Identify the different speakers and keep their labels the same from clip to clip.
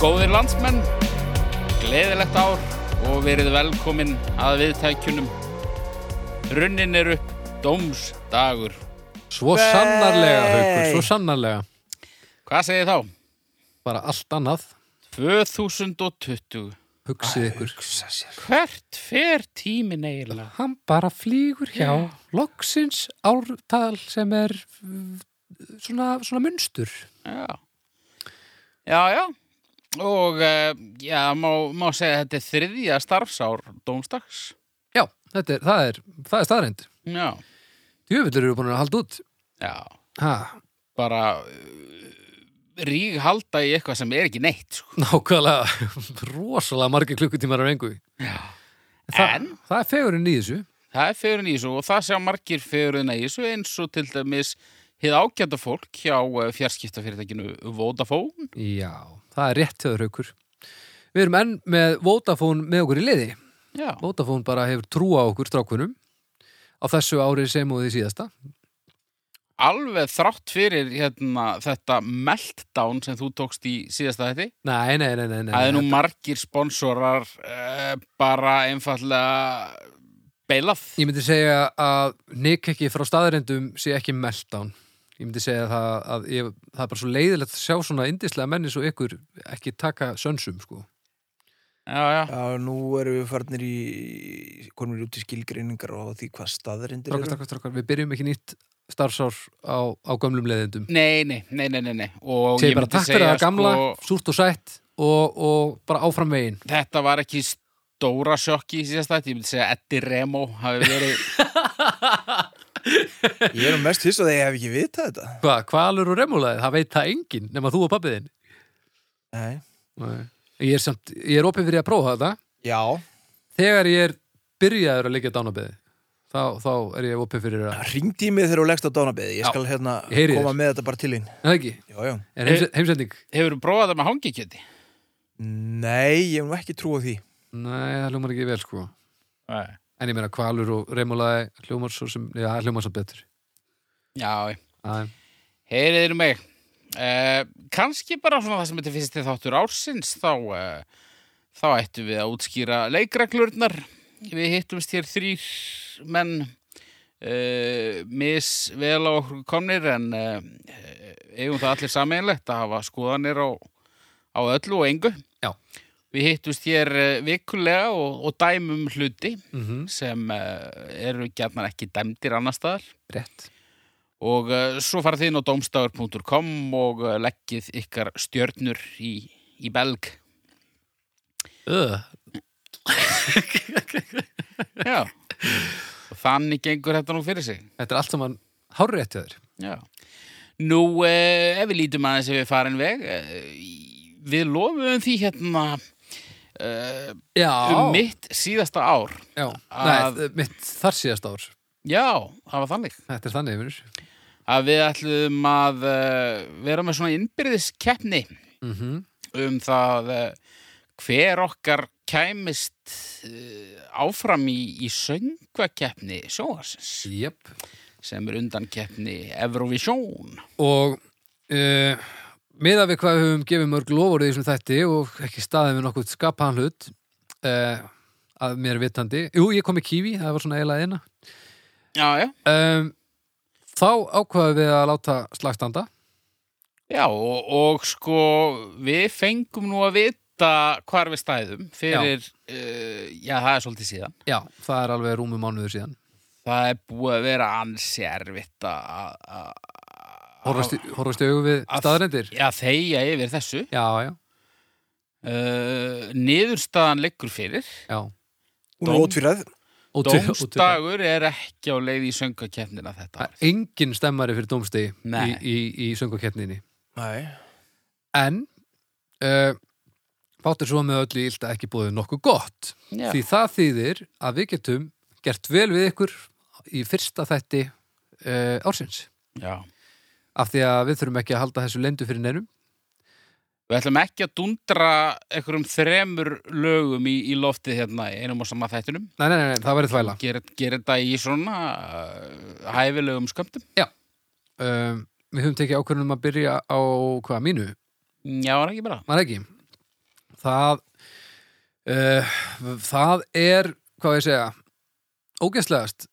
Speaker 1: Góðir landsmenn, gleðilegt ár og verið velkomin að viðtækjunum. Runnin er upp, dómsdagur.
Speaker 2: Svo sannarlega, Haukur,
Speaker 3: Nei.
Speaker 2: svo sannarlega.
Speaker 1: Hvað segir þá?
Speaker 2: Bara allt annað,
Speaker 1: 2020.
Speaker 2: hugsið ykkur.
Speaker 1: Hvert fer tímin eiginlega?
Speaker 2: Hann bara flýgur hjá loksins ártal sem er mm, svona, svona munstur.
Speaker 1: Já, já, já. Og eh, já, má, má segja að þetta er þriðja starfsár dómsdags.
Speaker 2: Já, þetta er, það er, það er staðreind.
Speaker 1: Já,
Speaker 2: Djöfullur eru búin að halda út.
Speaker 1: já.
Speaker 2: Ha,
Speaker 1: Bara ríg halda í eitthvað sem er ekki neitt, sko.
Speaker 2: nákvæmlega, rosalega margir klukkutímar af engu. Þa,
Speaker 1: En?
Speaker 2: Það er fegurinn í þessu.
Speaker 1: Það er fegurinn í þessu og það sjá margir fegurinn í þessu eins og til dæmis hið ágæta fólk hjá eh, fjarskiptafyrirtækinu Vodafone.
Speaker 2: Já, það er rétt höður Haukur. Við erum enn með Vodafone með okkur í liði.
Speaker 1: Já,
Speaker 2: Vodafone bara hefur trú á okkur strákunum á þessu ári sem og því síðasta
Speaker 1: alveg þrátt fyrir hérna, þetta meltdown sem þú tókst í síðasta þetta.
Speaker 2: Nei, nei, nei, nei, nei.
Speaker 1: Það er nú margir sponsorar uh, bara einfallega beilað.
Speaker 2: Ég myndi segja að Nick ekki frá staðarindum sé ekki meltdown Ég myndi segja það að ég, það er bara svo leiðilegt að sjá svona indislega menni svo ykkur ekki taka sönsum sko
Speaker 1: Já, já.
Speaker 3: Já, nú erum við farnir í, konum við út í skilgreiningar og því hvað staðarindir
Speaker 2: Strákar, strákar, strákar, við byrjum ekki nýtt starfsár á, á gömlum leiðindum
Speaker 1: Nei, nei, nei, nei, nei, nei. Og
Speaker 2: Segir
Speaker 1: ég
Speaker 2: bara
Speaker 1: myndi
Speaker 2: takk fyrir
Speaker 1: segja,
Speaker 2: það gamla,
Speaker 1: sko,
Speaker 2: súrt og sætt og, og bara áfram veginn
Speaker 1: þetta var ekki stóra sjokki í síðasta þetta, ég myndi segja að Eddie Remo hafi verið,
Speaker 3: Ég er nú mest hissa að ég hef ekki vitað þetta.
Speaker 2: Hvað, hvalur og remulaði, það veit það enginn nema þú og pappiðinn
Speaker 3: Nei.
Speaker 2: Ég er samt, ég er opið fyrir að prófa þetta
Speaker 3: Já.
Speaker 2: þegar ég er byrjaður að liggja dánabeði þá, þá er ég opið fyrir að
Speaker 3: Ringdi í mig þegar þú leggst á dánabeði. Ég skal hérna
Speaker 2: ég heyri
Speaker 3: koma
Speaker 2: þér.
Speaker 3: með þetta bara til þín.
Speaker 2: Nei, það ekki,
Speaker 3: Já, já.
Speaker 2: er heims, heimsending
Speaker 1: hefur prófað það með hangikjöti?
Speaker 3: Nei, ég hef nú ekki trú á því.
Speaker 2: Nei, það hljómar ekki vel sko
Speaker 1: Nei.
Speaker 2: en ég meina kvalur og reymulaði hljómar svo sem, já, það hljómar svo betur
Speaker 1: Já,
Speaker 2: Æ,
Speaker 1: heyriðir mig. Uh, kanski bara svona það sem þetta finnst þið þáttur ársins, þá, uh, þá ættum við að útskýra leikreglurnar. Við hittumst hér þrýr menn uh, misvel á okkur komnir en uh, eigum það allir sameinlegt að hafa skoðanir á, á öllu og engu.
Speaker 2: Já.
Speaker 1: Við hittumst hér uh, vikulega og, og dæmum hluti
Speaker 2: mm
Speaker 1: sem uh, eru gjarnan ekki dæmdir annar staðar.
Speaker 2: rétt
Speaker 1: Og uh, svo farið þið inn á domstafur.com og uh, leggið ykkar stjörnur í, í belg.
Speaker 2: uh.
Speaker 1: Já. Og þannig gengur þetta nú fyrir sig.
Speaker 2: Þetta er allt saman hárétt hjá þér
Speaker 1: Já. Nú, uh, ef við lítum aðeins ef við farin veg, uh, við lofum því hérna uh,
Speaker 2: Já,
Speaker 1: um mitt síðasta ár.
Speaker 2: já.
Speaker 1: að-
Speaker 2: Nei, mitt þar síðast ár
Speaker 1: Já, það var þannig.
Speaker 2: Þetta er þannig, vinur
Speaker 1: Að við ætlum að uh, vera með svona innbyrðiskeppni.
Speaker 2: mm
Speaker 1: um það eh, hver okkar kæmist eh, áfram í, í söngvakeppni sjóðarsins
Speaker 2: Jöp
Speaker 1: sem er undan keppni Eurovision.
Speaker 2: og uh, miða við hvað við höfum gefið mörg lofur í þessum þætti og ekki staðið við nokkuð skapaðan hlut uh, að mér vitandi Jú, ég kom í kífi, það var svona eiginlega eina
Speaker 1: Já, já.
Speaker 2: um, Þá ákvaðum við að láta slagstanda
Speaker 1: Já, og, og sko við fengum nú að vita hvar við stæðum fyrir, já, já það er svolítið síðan.
Speaker 2: Já, það er alveg rúmum mánuður síðan
Speaker 1: Það er búið að vera ansi erfitt að... að-
Speaker 2: Horfast í- Horfast í augu við
Speaker 1: að-
Speaker 2: staðarendir
Speaker 1: Já, þeia yfir þessu.
Speaker 2: Já, já,
Speaker 1: Uh, niðurstaðan liggur fyrir.
Speaker 2: já
Speaker 3: Hún er
Speaker 1: Dóm.
Speaker 3: ótvíræð.
Speaker 2: og til- og til-
Speaker 1: Dómstagur er ekki á leið í söngakeppnina þetta
Speaker 2: Það
Speaker 1: ár.
Speaker 2: er Engin stemmari fyrir dómstegi í,
Speaker 1: Nei.
Speaker 2: í, í söngukettninni
Speaker 3: Nei.
Speaker 2: En uh, Bátur svo með öllu ílt að ekki búið nokkuð gott
Speaker 1: Já.
Speaker 2: Því það þýðir að við getum gert vel við ykkur í fyrsta þætti uh, ársins.
Speaker 1: Já.
Speaker 2: Af því að við þurfum ekki að halda þessu lendu fyrir neinum.
Speaker 1: Við ætlum ekki að dundra einhverjum þremur lögum í, í loftið hérna í einum og sama þættunum.
Speaker 2: Nei, nei, nei, nei það verður þvæla.
Speaker 1: Gera ger þetta í svona uh, hæfilegum skömmtum.
Speaker 2: Um, við höfum tekið ákvörðunum að byrja á hvaða mínu.
Speaker 1: Já, er það ekki bara.
Speaker 2: Var það ekki? það uh, það er, hvað á ég að segja ógeðslegast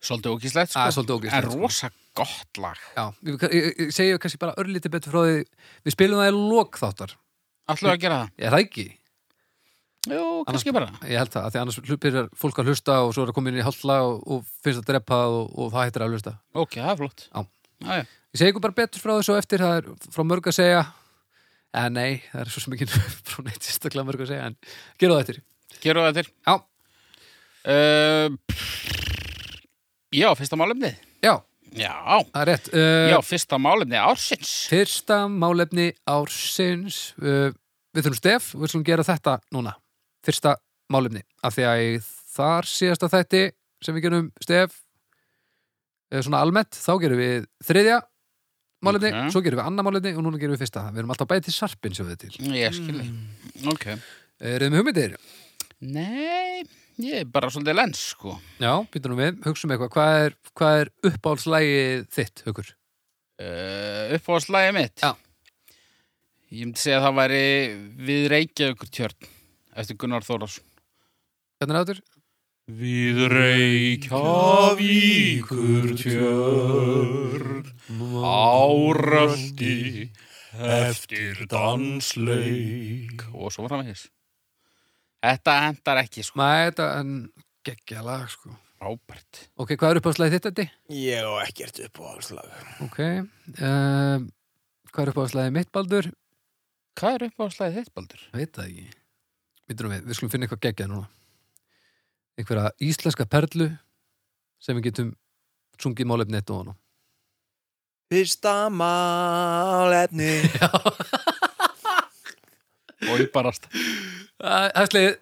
Speaker 1: Svolítið ógíslegt,
Speaker 2: Það er
Speaker 1: sko.
Speaker 2: svolítið
Speaker 1: En
Speaker 2: ógeðslegast sko.
Speaker 1: rosa gott lag.
Speaker 2: Já, ég, ég, ég segi kannski bara örlítið betur frá því við spilum það í lokþáttar
Speaker 1: Alltaf að gera það.
Speaker 2: er það ekki?
Speaker 1: Jú, kannski bara.
Speaker 2: Ég held það, af því annars byrjar fólk að hlusta og svo er að koma inn í halla og, og finnst að drepa það og, og það hættir að hlusta
Speaker 1: Ok, það er flott.
Speaker 2: Já.
Speaker 1: Já, já.
Speaker 2: Ég segi ykkur bara betur frá þessu á eftir, það er frá mörg að segja eða nei, það er svo sem ekki frá neitt sérstaklega mörg að segja en gera það eftir
Speaker 1: Gerum við þetta.
Speaker 2: Já,
Speaker 1: Uh, já, fyrsta málefnið.
Speaker 2: já,
Speaker 1: Já,
Speaker 2: það er rétt uh,
Speaker 1: já, fyrsta málefnið ársins.
Speaker 2: Fyrsta málefni ársins uh, Við þurfum stef, við slum gera þetta núna Fyrsta málefni Af því að í þar síðasta þætti sem við gerum stef eh, svona almennt, þá gerum við þriðja málefni,
Speaker 1: Ok.
Speaker 2: svo gerum við annað málefni og núna gerum við fyrsta, við erum alltaf bæði til sarpin sem við er til,
Speaker 1: Ég skilji.
Speaker 2: Mm.
Speaker 1: Ok.
Speaker 2: erum við hugmyndir?
Speaker 1: Nei, ég er bara svolítið lens, sko.
Speaker 2: Já, býtum við, hugsum eitthvað hvað er, hvað er uppáhaldslægið þitt, hugur?
Speaker 1: Uh, upp á slagið mitt.
Speaker 2: Já.
Speaker 1: Ég myndi segja að það væri við Reykjavíkur tjörn eftir Gunnar Þórás.
Speaker 2: Hvernig er áttur?
Speaker 1: Við Reykjavíkur tjörn áröldi eftir dansleik og svo var það með þess. Þetta hendar ekki, sko.
Speaker 2: Nei, þetta er geggja lag, sko
Speaker 1: Rábert.
Speaker 2: Ok, hvað er uppáhaldslægið þitt, Eddi?
Speaker 3: Ég á ekkert upp á áslag.
Speaker 2: Ok, um, hvað er uppáðslæðið mitt, Baldur?
Speaker 1: Hvað er upp á slagið þitt, Baldur?
Speaker 2: Veit það ekki. Vittum við, við skulum finna eitthvað geggjað núna. Einhverja íslenska perlu sem við getum sungið málefni eitt og hann.
Speaker 3: Fyrsta málefni.
Speaker 1: Og ég barast.
Speaker 2: Það er slegið,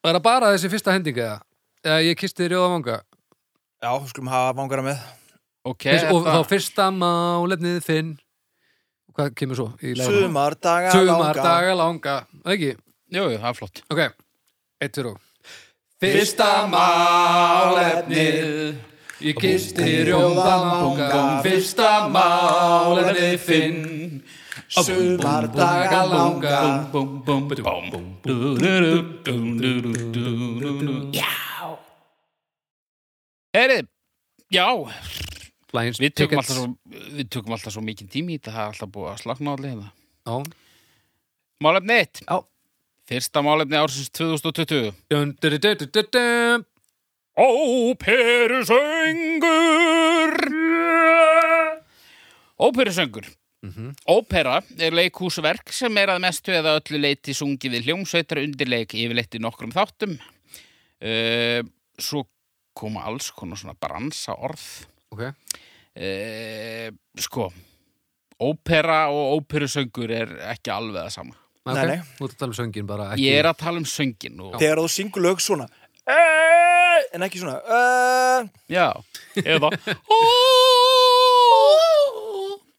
Speaker 2: Eh, var það bara þessi fyrsta hendinga eða? Eða Ég kisti þér jóða vanga.
Speaker 3: Já, skulum hafa vangara með.
Speaker 1: Ok,
Speaker 2: Fyrst, og
Speaker 1: þetta-
Speaker 2: þá fyrsta málefnið finn. Hvað kemur svo? í laginu?
Speaker 3: Sumardaga
Speaker 2: Sumar daga langa. Það Ekki?
Speaker 1: Jú, jú, það er flott.
Speaker 2: Ok, eitt fyrir og.
Speaker 3: Fyrsta málefnið.
Speaker 2: Ég gisti rjóðan bungan Fyrsta málefnið finn
Speaker 1: Mm.
Speaker 2: Sumardaga langa
Speaker 1: Bum, bum, bum, bum, bum, du, du, du, du, du, du, du, du. Já! Herið, já,
Speaker 2: Lions
Speaker 1: við tökum, alltaf
Speaker 2: tickets
Speaker 1: svo, við tökum alltaf svo mikið tími í þetta, það er alltaf búið að slagna allir hérna.
Speaker 2: Já.
Speaker 1: Málefni 1.
Speaker 2: Já.
Speaker 1: Fyrsta málefni ársins 2020.
Speaker 2: Dun, dun, dun, dun, dun, dun.
Speaker 1: Óperusöngur Óperusöngur
Speaker 2: Mhm.
Speaker 1: Ópera er leikhúsverk sem er að mestu eða öllu leiti sungið við hljómsveitar undirleik yfirleitt í nokkrum þáttum uh, Svo koma alls konar svona bransa orð
Speaker 2: Ok,
Speaker 1: uh, Sko Ópera og óperusöngur er ekki alveg að sama
Speaker 2: ok
Speaker 3: Nei, nei.
Speaker 2: Þú ert að tala um söngin bara ekki
Speaker 1: Ég er að tala um söngin og,
Speaker 3: Þegar þú syngur lög svona. En ekki svona. eh,
Speaker 1: Já, eða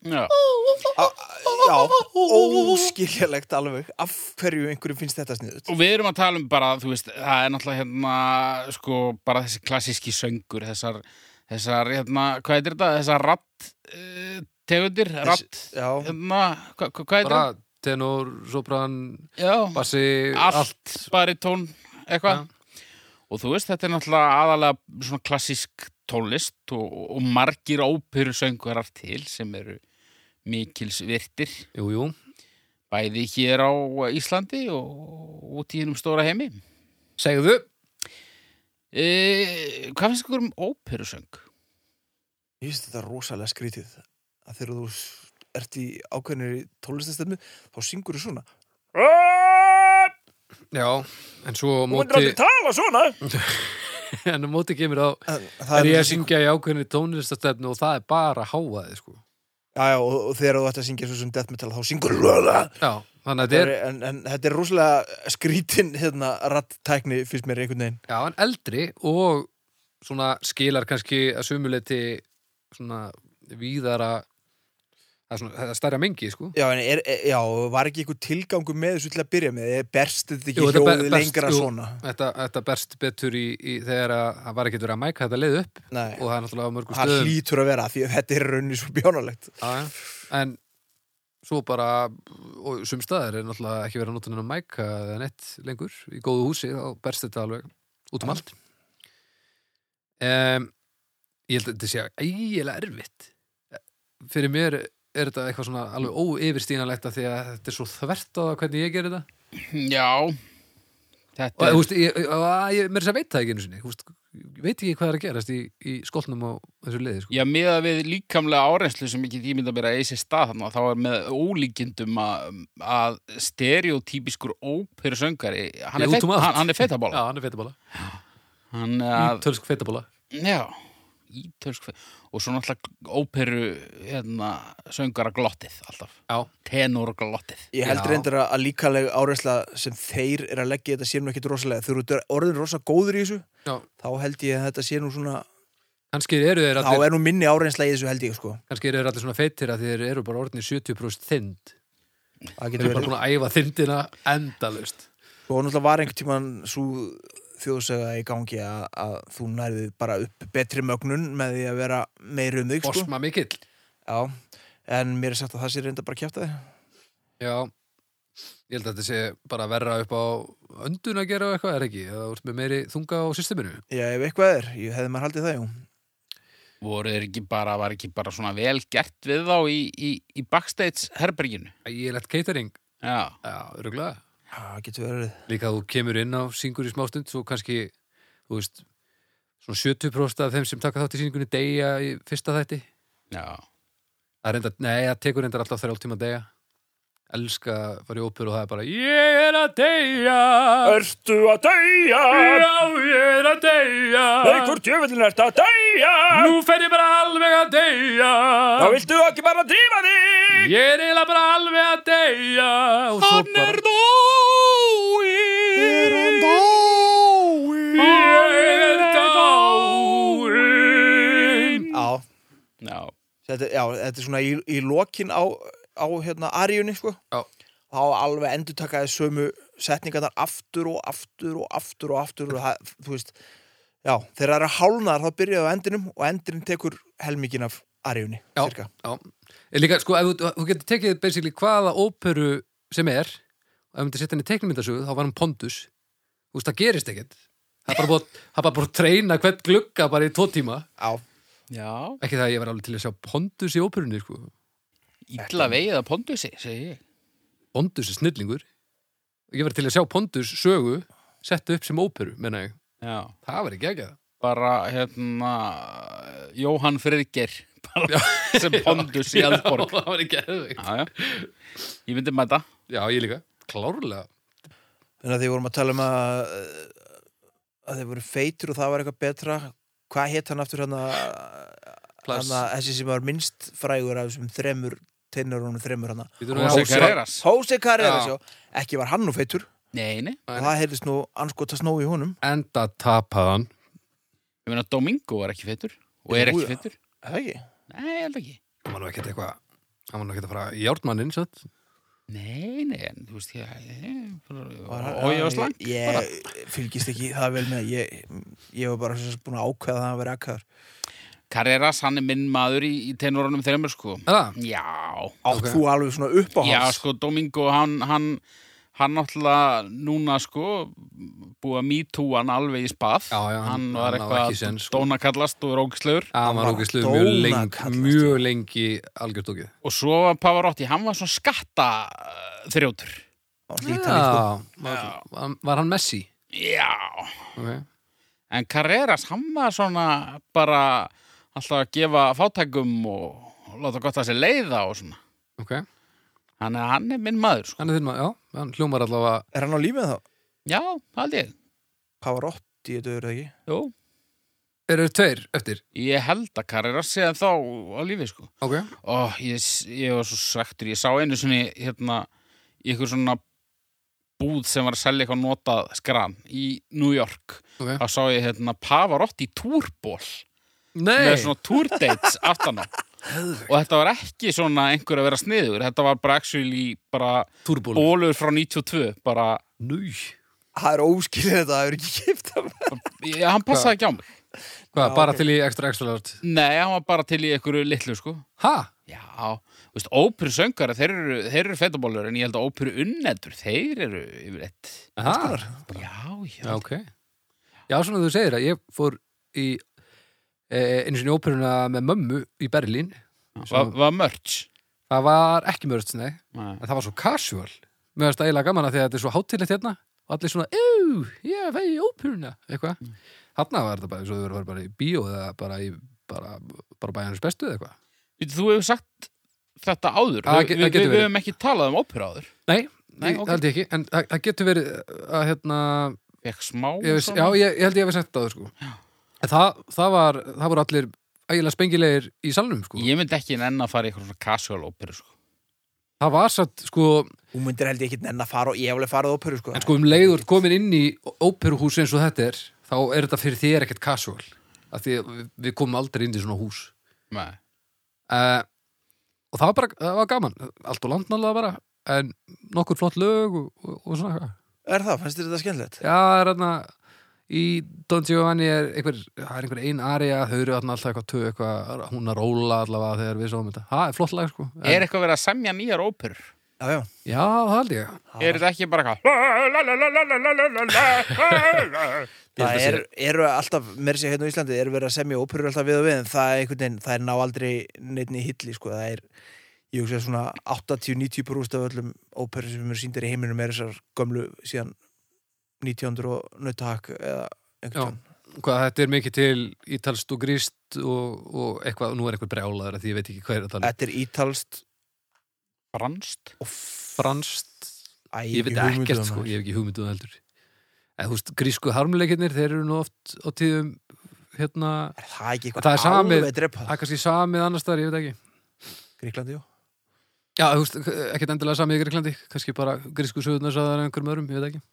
Speaker 1: Já
Speaker 3: á- Já, óskiljalegt alveg. Af hverju einhverjum finnst þetta sniðut?
Speaker 1: og við erum að tala um bara, þú veist, það er náttúrulega hérna, sko, bara þessi klassíski söngur, þessar, þessar, hérna, hvað heitir þetta, þessar ratt uh, tegundir, ratt,
Speaker 2: Um.
Speaker 3: Já,
Speaker 1: hérna, hva, hva, hvað heitir
Speaker 2: Bara
Speaker 1: þetta?
Speaker 2: tenor, sopran,
Speaker 1: Já,
Speaker 2: bassi
Speaker 1: allt, baritón, eitthvað.
Speaker 2: Já.
Speaker 1: Og þú veist, þetta er náttúrulega aðalega svona klassísk tónlist og, og margir óperusöngurar til sem eru mikils virtir,
Speaker 2: Jú, jú
Speaker 1: bæði hér á Íslandi og út í hennum stóra heimi.
Speaker 2: Segðu
Speaker 1: E, hvað finnst ykkur um óperusöng?
Speaker 3: ég finnst þetta rosalega skrítið. Að þegar þú s- ert í ákveðinir tónlistastemmu, þá syngur þú svona.
Speaker 2: Já, en svo á
Speaker 3: Þú myndir
Speaker 2: móti
Speaker 3: aldrei tala svona.
Speaker 2: En á móti kemur á
Speaker 3: En það
Speaker 2: Er ég að
Speaker 3: þessi-
Speaker 2: syngja í ákveðinni tónlistastefnu og það er bara háaði, sko
Speaker 3: Já, já, og, og þegar þú ætti að syngja svo sem death metal þá syngur löða
Speaker 2: Já, þannig að þetta er
Speaker 3: en, en þetta er rosalega skrítin hérna rattækni fyrst mér einhvern veginn
Speaker 2: Já, en eldri og svona skilar kannski að sumuleiti svona víðara það er svona, það er stærra mengi, sko
Speaker 3: Já, en er, er, já, var ekki einhver tilgangu með þessu til að byrja með, Er- berst þetta ekki
Speaker 2: Jú, þetta ber-
Speaker 3: hljóðið
Speaker 2: berst,
Speaker 3: lengra
Speaker 2: jú.
Speaker 3: svona
Speaker 2: Þetta, þetta berst betur í, í þegar að það var ekki verið að mæka þetta leið upp
Speaker 3: Nei,
Speaker 2: og það er náttúrulega á mörgum
Speaker 3: það
Speaker 2: stöðum
Speaker 3: hlýtur að vera því að þetta er raunni svo bjánalegt
Speaker 2: Já, já. En svo bara, og sum staðar er náttúrulega ekki verið að nota hennar mæka eða nett lengur í góðu húsi, þá berst þetta alveg út um
Speaker 3: Já.
Speaker 2: allt um, Ég held að þetta sé ægilega erfitt Fyrir mér er þetta eitthvað svona alveg óyfirstíðanlegt af því að þetta er svo þvert á það hvernig ég gerir þetta
Speaker 1: Já
Speaker 2: og
Speaker 1: Þetta
Speaker 2: þú
Speaker 1: er,
Speaker 2: veist, ég, ég, ég- ég mér þess að veit það ekki einu sinni, þú veist, ég veit ekki hvað er að gerast í, í skoltnum á þessu liði sko.
Speaker 1: já, miða við líkamlega árenslu sem ekki tímynda mér að eigi sér stað þannig að þá er með ólíkindum að, að stereotypískur óperu söngari hann
Speaker 2: Ég
Speaker 1: er,
Speaker 2: út
Speaker 1: feit,
Speaker 2: um allt.
Speaker 1: hann, hann er feitabóla
Speaker 2: Já, hann er feitabóla,
Speaker 1: hann er að,
Speaker 2: ítölsk feitabóla
Speaker 1: já ítölsk fe- og svo náttúrulega óperu hérna, söngara glottið alltaf,
Speaker 2: Já,
Speaker 1: tenor glottið
Speaker 3: Ég held
Speaker 2: Já.
Speaker 3: reyndar að að líkaleg áreisla sem þeir er að leggja í þetta sé nú ekkit rosalega þegar þú eru orðin rosa góður í þessu
Speaker 2: já,
Speaker 3: þá held ég að þetta sé nú svona
Speaker 2: kannski eru þeir
Speaker 3: þá
Speaker 2: allir
Speaker 3: er nú minni áreisla í þessu held ég sko
Speaker 2: kannski eru þeir allir svona feitir að þeir eru bara orðinir 70% þynd
Speaker 3: Það
Speaker 2: þeir eru
Speaker 3: getur
Speaker 2: bara
Speaker 3: verið
Speaker 2: búin að æfa þyndina endalust
Speaker 3: Svo náttúrulega var einhvern tíman svo þjóðsega í gangi að, að þú nærðið bara upp betri mögnun með því að vera meiri um þig sko
Speaker 2: Bosma mikill
Speaker 3: Já, en mér er sagt að það sé reynda bara að kjæfta þig
Speaker 2: Já, ég held að þetta sé bara verra upp á öndun að gera og eitthvað er ekki, það voru með meiri þunga á systeminu
Speaker 3: Já, ef eitthvað er, ég hefði maður haldið það, jú
Speaker 1: voru þeir ekki bara, var ekki bara svona vel gert við þá í, í, í backstage herberginu
Speaker 2: Ægilegt catering,
Speaker 1: já,
Speaker 2: já, öruglega
Speaker 3: Já, það getur verið
Speaker 2: líka að þú kemur inn á syngur í smástund svo kannski, þú veist svona 70% af þeim sem taka þátt í syngunni deyja í fyrsta þætti
Speaker 1: já
Speaker 2: það reynda, nei, það tekur reyndar alltaf þrjálf tíma að deyja elska að fara í óperu og það er bara ég er að deyja
Speaker 3: Ertu að dæja?
Speaker 2: já, ég er að deyja
Speaker 3: djöfullin ert að dæja?
Speaker 2: nú fer ég bara alveg að deyja
Speaker 3: viltu ekki bara drífa þig
Speaker 2: ég er eiginlega bara alveg að deyja og svo bara
Speaker 1: dói
Speaker 3: Er hann dái?
Speaker 2: ég er dáin
Speaker 3: Já,
Speaker 1: Já,
Speaker 3: þetta, já, þetta er svona í, í lokin á, á hérna, Aríunni, sko
Speaker 2: Já.
Speaker 3: Þá alveg endur takaði sömu setningarnar aftur og aftur og aftur og aftur og það, þú veist Já, þegar það eru hálnaðar þá byrjaðu á endinum og endurinn tekur helmingin af Aríunni,
Speaker 2: Já,
Speaker 3: cirka
Speaker 2: já. En líka, sko, ef þú, þú getur tekið basically hvaða óperu sem er og ef þú myndir setja henni teiknumyndasögu, þá var hann Pondus Þú veist, það gerist ekkert Það er bara búið það er bara búið að treyna hvern glugga bara í tvo tíma
Speaker 3: Já,
Speaker 1: já
Speaker 2: Ekki það að ég var alveg til að sjá Pondus í óperunni, sko
Speaker 1: Ítla vegið að pondusi, segi ég
Speaker 2: Pondus er snillingur Ég var til að sjá Pondus sögu setta upp sem óperu, menna ég
Speaker 1: Já,
Speaker 2: Það var ekki ekki það
Speaker 1: bara hérna Jóhann Friðger bara sem pondus í Eldborg
Speaker 2: Það var ekki ekki
Speaker 1: Já, já Ég myndi mæta
Speaker 2: Já, ég líka, klárlega
Speaker 3: Þannig að því vorum að tala um að eh, að þeir voru feitur og það var eitthvað betra Hvað hétt hann aftur hann að
Speaker 2: Plass.
Speaker 3: þessi sem var minnst frægur af þessum þremur tennurunum þremur hérna. hann
Speaker 2: Bíddu nú,
Speaker 1: Jose
Speaker 2: já,
Speaker 1: Carreras
Speaker 3: Hósi Karriðar
Speaker 2: Já.
Speaker 3: sjá Ekki var hann nú feitur
Speaker 1: Nei, nei
Speaker 2: Nei.
Speaker 3: og það heyrðist nú anskota snó í honum
Speaker 2: Enda tapaðan
Speaker 1: Ég meina Domingo er ekki feitur og er
Speaker 3: Jú,
Speaker 1: ekki
Speaker 3: já.
Speaker 1: feitur
Speaker 3: Er Það ekki?
Speaker 1: Nei, ég held ekki
Speaker 2: hann var nú ekkert eitthvað hann var nú ekkert að fara í járnmannin satt.
Speaker 1: Nei, nei, en þú veist ég
Speaker 3: Var hann-
Speaker 1: Og ég var slang bara.
Speaker 3: Ég fylgist ekki það vel með Ég, ég var bara svo sem búin að ákveða að það var akkaður
Speaker 1: Carreras, hann er minn maður í, í tenorunum þreymur sko
Speaker 2: Er það?
Speaker 1: Já
Speaker 3: Átt
Speaker 2: Ok.
Speaker 3: þú alveg svona upp á
Speaker 1: Já, sko, Domingo, hann, hann, hann náttúrulega núna, sko, búið að mítúa hann alveg í spað.
Speaker 2: Já, já,
Speaker 1: hann
Speaker 2: hann-
Speaker 1: var
Speaker 2: hann á
Speaker 1: eitthvað
Speaker 2: ekki sen, sko.
Speaker 1: dóna kallast og rókslegur.
Speaker 2: hann var
Speaker 3: var
Speaker 2: ógeðslu mjög
Speaker 3: dóna
Speaker 2: lengi
Speaker 3: kallast.
Speaker 2: mjög lengi algjört okkið
Speaker 1: Og svo var Pavarotti, hann var svona skatta uh, þrjótur.
Speaker 3: hans
Speaker 2: var, var hann Messi
Speaker 1: Já,
Speaker 2: okay.
Speaker 1: en Carreras, hann var svona bara alltaf að gefa fátækum og láta gott að sér leiða og svona.
Speaker 2: ok
Speaker 1: Þannig að hann er minn maður, sko.
Speaker 2: hann er þinn maður já hann hljómar allavega
Speaker 3: Er hann á lífið þá?
Speaker 1: Já, hald ég.
Speaker 3: Pavarotti, þetta eru það ekki?
Speaker 1: Jú.
Speaker 2: eru þeir tveir eftir
Speaker 1: Ég held að Carreras sé að þá á lífi, sko.
Speaker 2: ok
Speaker 1: Ó, ég, s- ég var svo svektur, ég sá einu sinni hérna, í ykkur svona búð sem var að selja eitthvað notað skran í New York
Speaker 2: ok
Speaker 1: þá sá ég hérna Pavarotti túrból með
Speaker 2: nei
Speaker 1: svona túrdates aftan á og þetta var ekki svona einhver að vera sniður þetta var bara actually bara
Speaker 2: túrból
Speaker 1: bólur frá 92 bara,
Speaker 2: nú
Speaker 3: Það er óskilið þetta, það er ekki kipt af
Speaker 1: ég, hann passaði ekki á mig
Speaker 2: hvað
Speaker 3: Já,
Speaker 2: bara
Speaker 3: ok.
Speaker 2: til í extra extra lart
Speaker 1: nei, hann var bara til í einhverju litlu sko
Speaker 2: ha
Speaker 1: Já, þú veist, óperu söngara, þeir eru, þeir eru fetabólur en ég held að óperu unnendur, þeir eru yfirleitt.
Speaker 2: Aha,
Speaker 1: Já, já.
Speaker 2: já, ok Já, svona þú segir að ég fór í e, einu sinni í óperuna með mömmu í Berlín
Speaker 1: Var, var mörts.
Speaker 2: Það var ekki mörgst, nei
Speaker 1: Nei.
Speaker 2: En það var svo casual Mér finnst það eiginlega gaman að því að þetta er svo hátilegt hérna og allir svona, euu, ég er vegi ópurna eitthvað, mm. hann var þetta bara svo þau verið að fara bara í bíó eða bara í bara, bara bæjarins bestu eða eitthvað
Speaker 1: Veitir, Þú hefur sagt þetta áður.
Speaker 2: Já, það
Speaker 1: Við-
Speaker 2: ge- það
Speaker 1: við,
Speaker 2: getur
Speaker 1: við
Speaker 2: verið.
Speaker 1: hefum ekki talað um óperu áður.
Speaker 2: Nei,
Speaker 1: Nei,
Speaker 2: Nei
Speaker 1: ok.
Speaker 2: það held ég ekki, en það, það getur verið að hérna,
Speaker 1: Fekk smá.
Speaker 2: ég, veist, já,
Speaker 1: svona.
Speaker 2: ég, ég held ég hefði sett það sko. en það, það var það voru allir ægilega spengilegir í salnum sko.
Speaker 1: Ég myndi ekki enn að fara í eitthvað svona casual óperu, sko.
Speaker 2: það var satt, sko,
Speaker 3: Hún myndir held ég ekki nenn að fara og ég hefði farið á óperu sko.
Speaker 2: en sko um leiður komin inn í óperuhús eins og þetta er þá er þetta fyrir þér ekkert casual af því að við, við komum aldrei inn í svona hús
Speaker 1: Nei.
Speaker 2: uh, og það var bara, það var gaman allt og landnálega bara, en nokkur flott lög og, og, og svona eitthvað
Speaker 3: Er það, fannst þér þetta skemmtilegt?
Speaker 2: Já, það er hérna í Don Giovanni er einhver, það er einhver ein aria, þau eru þarna alltaf eitthvað tög eitthvað, hún að róla allavega þegar við sáum þetta. Það er flott lag, sko. En,
Speaker 1: Er eitthvað verið að semja nýjar óperur?
Speaker 3: Já, já.
Speaker 2: Já, það held ég.
Speaker 1: Er þetta ekki bara eitthvað?
Speaker 2: Ég held
Speaker 3: Það
Speaker 2: að
Speaker 3: er, eru alltaf, mér sé hérna á Íslandi, eru verið að semja óperur alltaf við og við en það er einhvern veginn, það er ná aldrei neittn í hilli, sko, það er ég hugsa svona 80-90 brúst af öllum óperur sem eru síndir í heiminum er þessar gömlu síðan 1900 og nautahakk eða
Speaker 2: Já.
Speaker 3: einhvern
Speaker 2: Hvað þetta er mikið til ítalst og gríst og, og eitthvað, nú er einhver brjálaður af því ég veit ekki hvað er að
Speaker 3: veginn
Speaker 2: tala. um.
Speaker 3: Þetta er ítalst
Speaker 1: Franst?
Speaker 3: og f-
Speaker 2: Franskt,
Speaker 3: Æ,
Speaker 2: ég veit
Speaker 3: hugmynd um
Speaker 2: ekkert,
Speaker 3: það.
Speaker 2: sko, ég hef ekki hugmynduð heldur. En þú veist, grísku harmleikirnir, þeir eru nú oft á tíðum, hérna,
Speaker 3: Er það ekki
Speaker 2: Það er
Speaker 3: eitthvað
Speaker 2: sama með-
Speaker 3: alveg drepa?
Speaker 2: það er kannski samið annars þar, ég veit ekki.
Speaker 3: Gríklandi, jú.
Speaker 2: Já, þú veist, ekkert endilega samið í Greiklandi, kannski bara grísku sögurnar sagðar en einhverjum öðrum, ég veit ekki.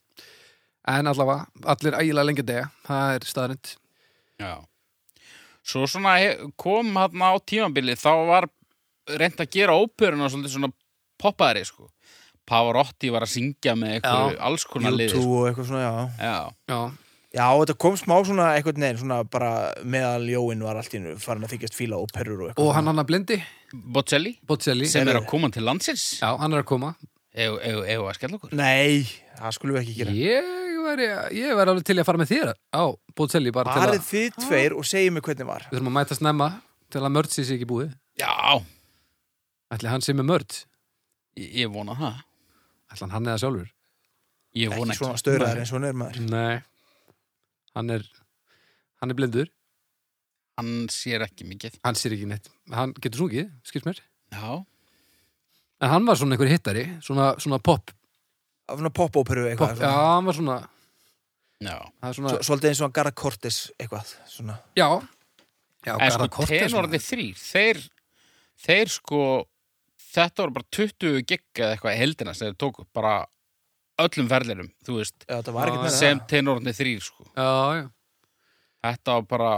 Speaker 2: En allavega, allir ægilega lengi að deyja, það er staðarind.
Speaker 1: Já. Svo svona he- kom hann á tímabilið, þá var reynd að gera óperuna svolítið svona poppaðri, sko. Pavarotti var að syngja með einhverju
Speaker 2: Já.
Speaker 1: alls konar liði.
Speaker 3: YouTube
Speaker 1: Sko.
Speaker 3: og eitthvað svona, já.
Speaker 1: Já.
Speaker 2: Já,
Speaker 3: Já, þetta kom smá svona eitthvað neginn, svona bara meðal Jóin var allt í hennu farin að þykjast fíla óperur og eitthvað.
Speaker 2: og hann hann að blindi,
Speaker 1: Bocelli,
Speaker 2: Bocelli,
Speaker 1: sem er að koma til landsins.
Speaker 2: já, hann er að koma.
Speaker 1: Egu, egu, egu að skella okkur.
Speaker 3: Nei, það skulum við ekki gera.
Speaker 2: Ég væri, ég væri alveg til í að fara með þér á Bocelli, bara til
Speaker 3: Farið
Speaker 2: að,
Speaker 3: þið tveir og segið mér hvernig var
Speaker 2: við þurfum að mæta snemma til að mörd sé sér ekki búið.
Speaker 1: Já,
Speaker 2: Ætli hann sé með mörd,
Speaker 1: ég, ég vona það.
Speaker 2: ætli hann hann eða sjálfur.
Speaker 1: Ég vona
Speaker 3: Ekki
Speaker 1: ekki.
Speaker 3: svona stöðraðar eins og hann er maður
Speaker 2: Nei, hann er, hann er blindur,
Speaker 1: Hann sér ekki mikið.
Speaker 2: hann sér ekki neitt, hann getur sungið, skilst mér.
Speaker 1: Já.
Speaker 2: En hann var svona einhver hittari, svona, svona pop,
Speaker 3: Af svona pop-óperu
Speaker 2: pop
Speaker 3: eitthvað
Speaker 2: já,
Speaker 3: svona.
Speaker 2: hann var svona,
Speaker 1: Já.
Speaker 2: það er svona
Speaker 3: Svo- Svolítið eins og hann Garra Cortes eitthvað svona.
Speaker 2: já, já,
Speaker 1: En
Speaker 2: Garðar
Speaker 1: sko,
Speaker 2: Cortez maður.
Speaker 1: tenorðið þrýr, þeir, þeir sko, þetta voru bara 20 gig eða eitthvað í heldina sem þeir tóku, bara öllum verðlinum, þú veist,
Speaker 3: Já, það var
Speaker 2: Já,
Speaker 3: ekkert meira
Speaker 1: sem
Speaker 3: það.
Speaker 1: tenorðið þrýr, sko.
Speaker 2: já, já,
Speaker 1: Þetta var bara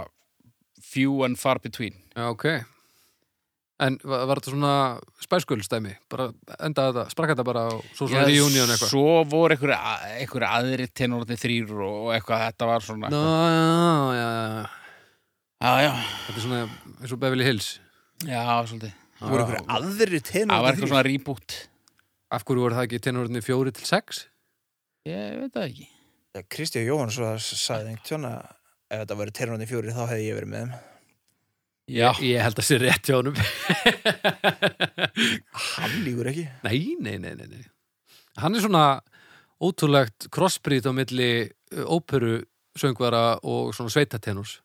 Speaker 1: few and far between.
Speaker 2: já, ok en var, var þetta svona spæskulstæmi, bara enda þetta sprakka þetta bara og svo svona
Speaker 1: Já,
Speaker 2: reunion eitthvað
Speaker 1: Svo voru einhverju einhver aðri tenorðið þrýr og, og eitthvað, þetta var svona.
Speaker 2: Ná, já, já, já,
Speaker 1: Já, já,
Speaker 2: þetta er svona eins og Beverly Hills
Speaker 1: já, svolítið.
Speaker 3: Það voru einhverju aðri tenur
Speaker 1: Það var eitthvað svona reboot.
Speaker 2: af hverju voru það ekki tenurinn fjóri til sex
Speaker 1: Ég veit það ekki.
Speaker 3: svona Kristján Jóhann svo sagði einhvern tjóna Ef þetta voru tenurinn í fjóri þá hefði ég verið með þeim
Speaker 1: Já,
Speaker 2: ég held að sé rétt hjá honum
Speaker 3: Hann lígur ekki
Speaker 2: nei, nei, nei, nei, nei hann er svona ótrúlegt crossbreed á milli uh, óperu söngvara og svona sveitatenurs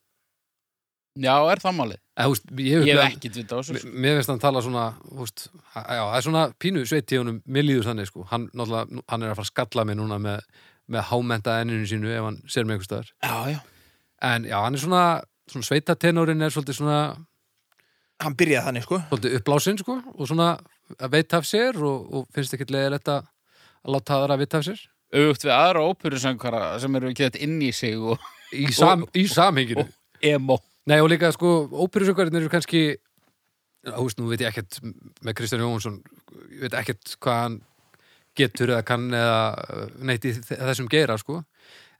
Speaker 1: já, er það málið.
Speaker 2: eða, húst, ég
Speaker 1: Ég
Speaker 2: upplifði-
Speaker 1: hef ekki dvita á þessu. sko.
Speaker 2: Mér- Mér finnst hann tala svona húst, já, það er svona pínu sveitt í honum mér líður þannig sko, hann, náttúrulega- nú- hann er að fara að skalla mig núna með, með hámenta enninu sínu ef hann sér mig einhvers staðar
Speaker 1: Já, já.
Speaker 2: en já, hann er svona, svona sveitatenorinn er svolítið svona
Speaker 3: Hann byrjaði þannig sko
Speaker 2: svolítið uppblásinn sko og svona að veita af sér og, og finnst ekkert leiðilegt að að láta aðra að vita af sér
Speaker 1: auðvögt við aðra óperusöngara sem eru ekki þetta inn í sig og
Speaker 2: í, sam, í samhenginu
Speaker 1: og- emo.
Speaker 2: Nei og líka sko, óperusöngvarinn eru kannski húst, nú veit ég ekkert með Kristján Jóhansson, ég veit ekkert hvað hann getur eða kann eða uh, neitt í þe- þessum geira sko,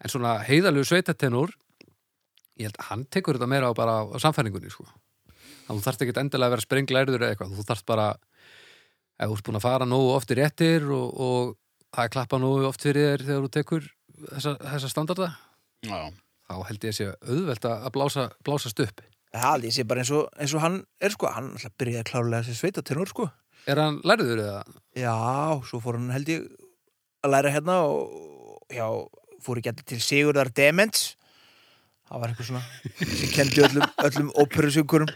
Speaker 2: en svona heiðalegu sveitatenur ég held að hann tekur þetta meira á bara á samfæringunni sko þú þarft ekki endilega að vera sprenglærður eða eitthvað, þú þarft bara ef þú ert búin að fara nógu oft í réttir og, og það er klappa nógu oft fyrir þér þegar þú tekur þessa, þessa standarda
Speaker 1: já,
Speaker 2: þá held ég að sé auðvelt að að blása, blásast upp
Speaker 3: Það held ég sé bara eins og, eins og hann er sko, hann alltaf byrjaði klárlega sem sveitatenor sko.
Speaker 2: Er hann lærður eða?
Speaker 3: Já, svo fór hann held ég að læra hérna og já, fór ekki allir til Sigurðar Demens. Það var eitthvað svona sem kendi öllum, öllum óperusjöngurum.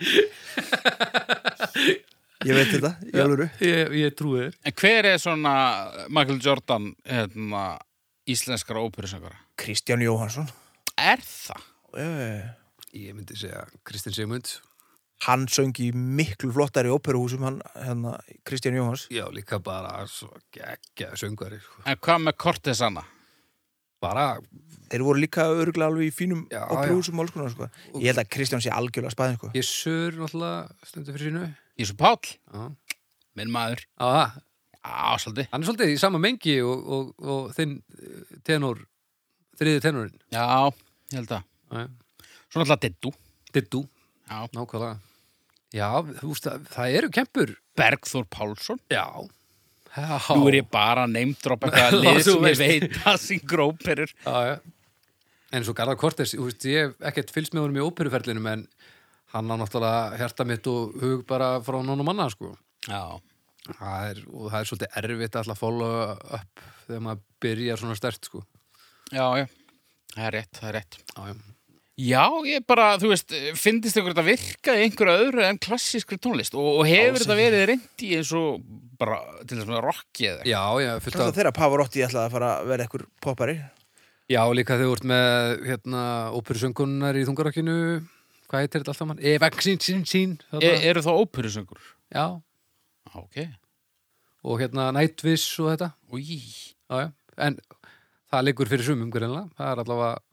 Speaker 3: Ég veit þetta, ég alveg.
Speaker 2: Ég, ég trúi þér
Speaker 1: en hver er svona Michael Jordan hérna, íslenskara óperusangara?
Speaker 3: Kristján Jóhansson.
Speaker 1: Er það?
Speaker 3: Eh,
Speaker 2: Ég myndi segja Kristinn Sigmund
Speaker 3: Hann söng í miklu flottari óperuhúsum, hann, hérna, Kristján Jóhans.
Speaker 2: Já, líka bara svo geggja söngari sko.
Speaker 1: En hvað með Cortesana?
Speaker 2: Bara,
Speaker 3: Þeir voru líka örgulega alveg í fínum
Speaker 2: Já,
Speaker 3: óperuhúsum og alls konar, sko. Ég held að Kristján sé algjörlega spæðin, sko.
Speaker 2: ég sör náttúrulega stundu fyrir sínu
Speaker 1: Ísu Páll,
Speaker 2: Já,
Speaker 1: minn maður
Speaker 2: Á, það.
Speaker 1: Já, svolítið
Speaker 2: Hann er svolítið í sama mengi og, og, og þinn eh, tenor þriði tenorinn
Speaker 1: Já, ég held að
Speaker 2: Já, já.
Speaker 1: Svona alltaf Dittu
Speaker 2: Diddú,
Speaker 1: Já.
Speaker 2: nákvæmlega Já, þú veist að það eru kempur
Speaker 1: Bergþór Pálsson
Speaker 2: Já Já,
Speaker 1: Nú er ég bara að neymdropa eitthvað
Speaker 2: Já,
Speaker 1: lið sem
Speaker 2: þú
Speaker 1: ég
Speaker 2: veist.
Speaker 1: veit að sín gróperur
Speaker 2: já, já. En svo Garðar Kortes, þú veist, ég hef ekkert fylgst með honum í óperuferlinum en hann á náttúrulega hjarta mitt og hug bara frá nónum manna, sko.
Speaker 1: Já,
Speaker 2: Það er, og það er svolítið erfitt alltaf að follow up þegar maður byrjar svona stert, sko.
Speaker 1: já, já Það er rétt, það er rétt
Speaker 2: Já, já.
Speaker 1: Já, ég bara, þú veist, finnist ykkur þetta virka í einhverju öðru en klassískri tónlist og, og hefur þetta verið reynd í eins og bara, til þess að rocki eða eitthvað.
Speaker 2: Já, já, fullt
Speaker 3: Þetta
Speaker 2: af,
Speaker 3: þeirra Pavarotti ætlaði að fara að vera ekkur poppari.
Speaker 2: já, líka þegar þú ert með, hérna, óperusöngunar í þungarakkinu, hvað heitir þetta alltaf mann? Evaxin, sín, sín,
Speaker 1: e,
Speaker 2: þarna.
Speaker 1: Eru þá óperusöngur?
Speaker 2: já,
Speaker 1: Já, Ok,
Speaker 2: og hérna Nightwish og þetta.
Speaker 1: új
Speaker 2: já, já. en það liggur fyrir sumum greinlega, það er allavega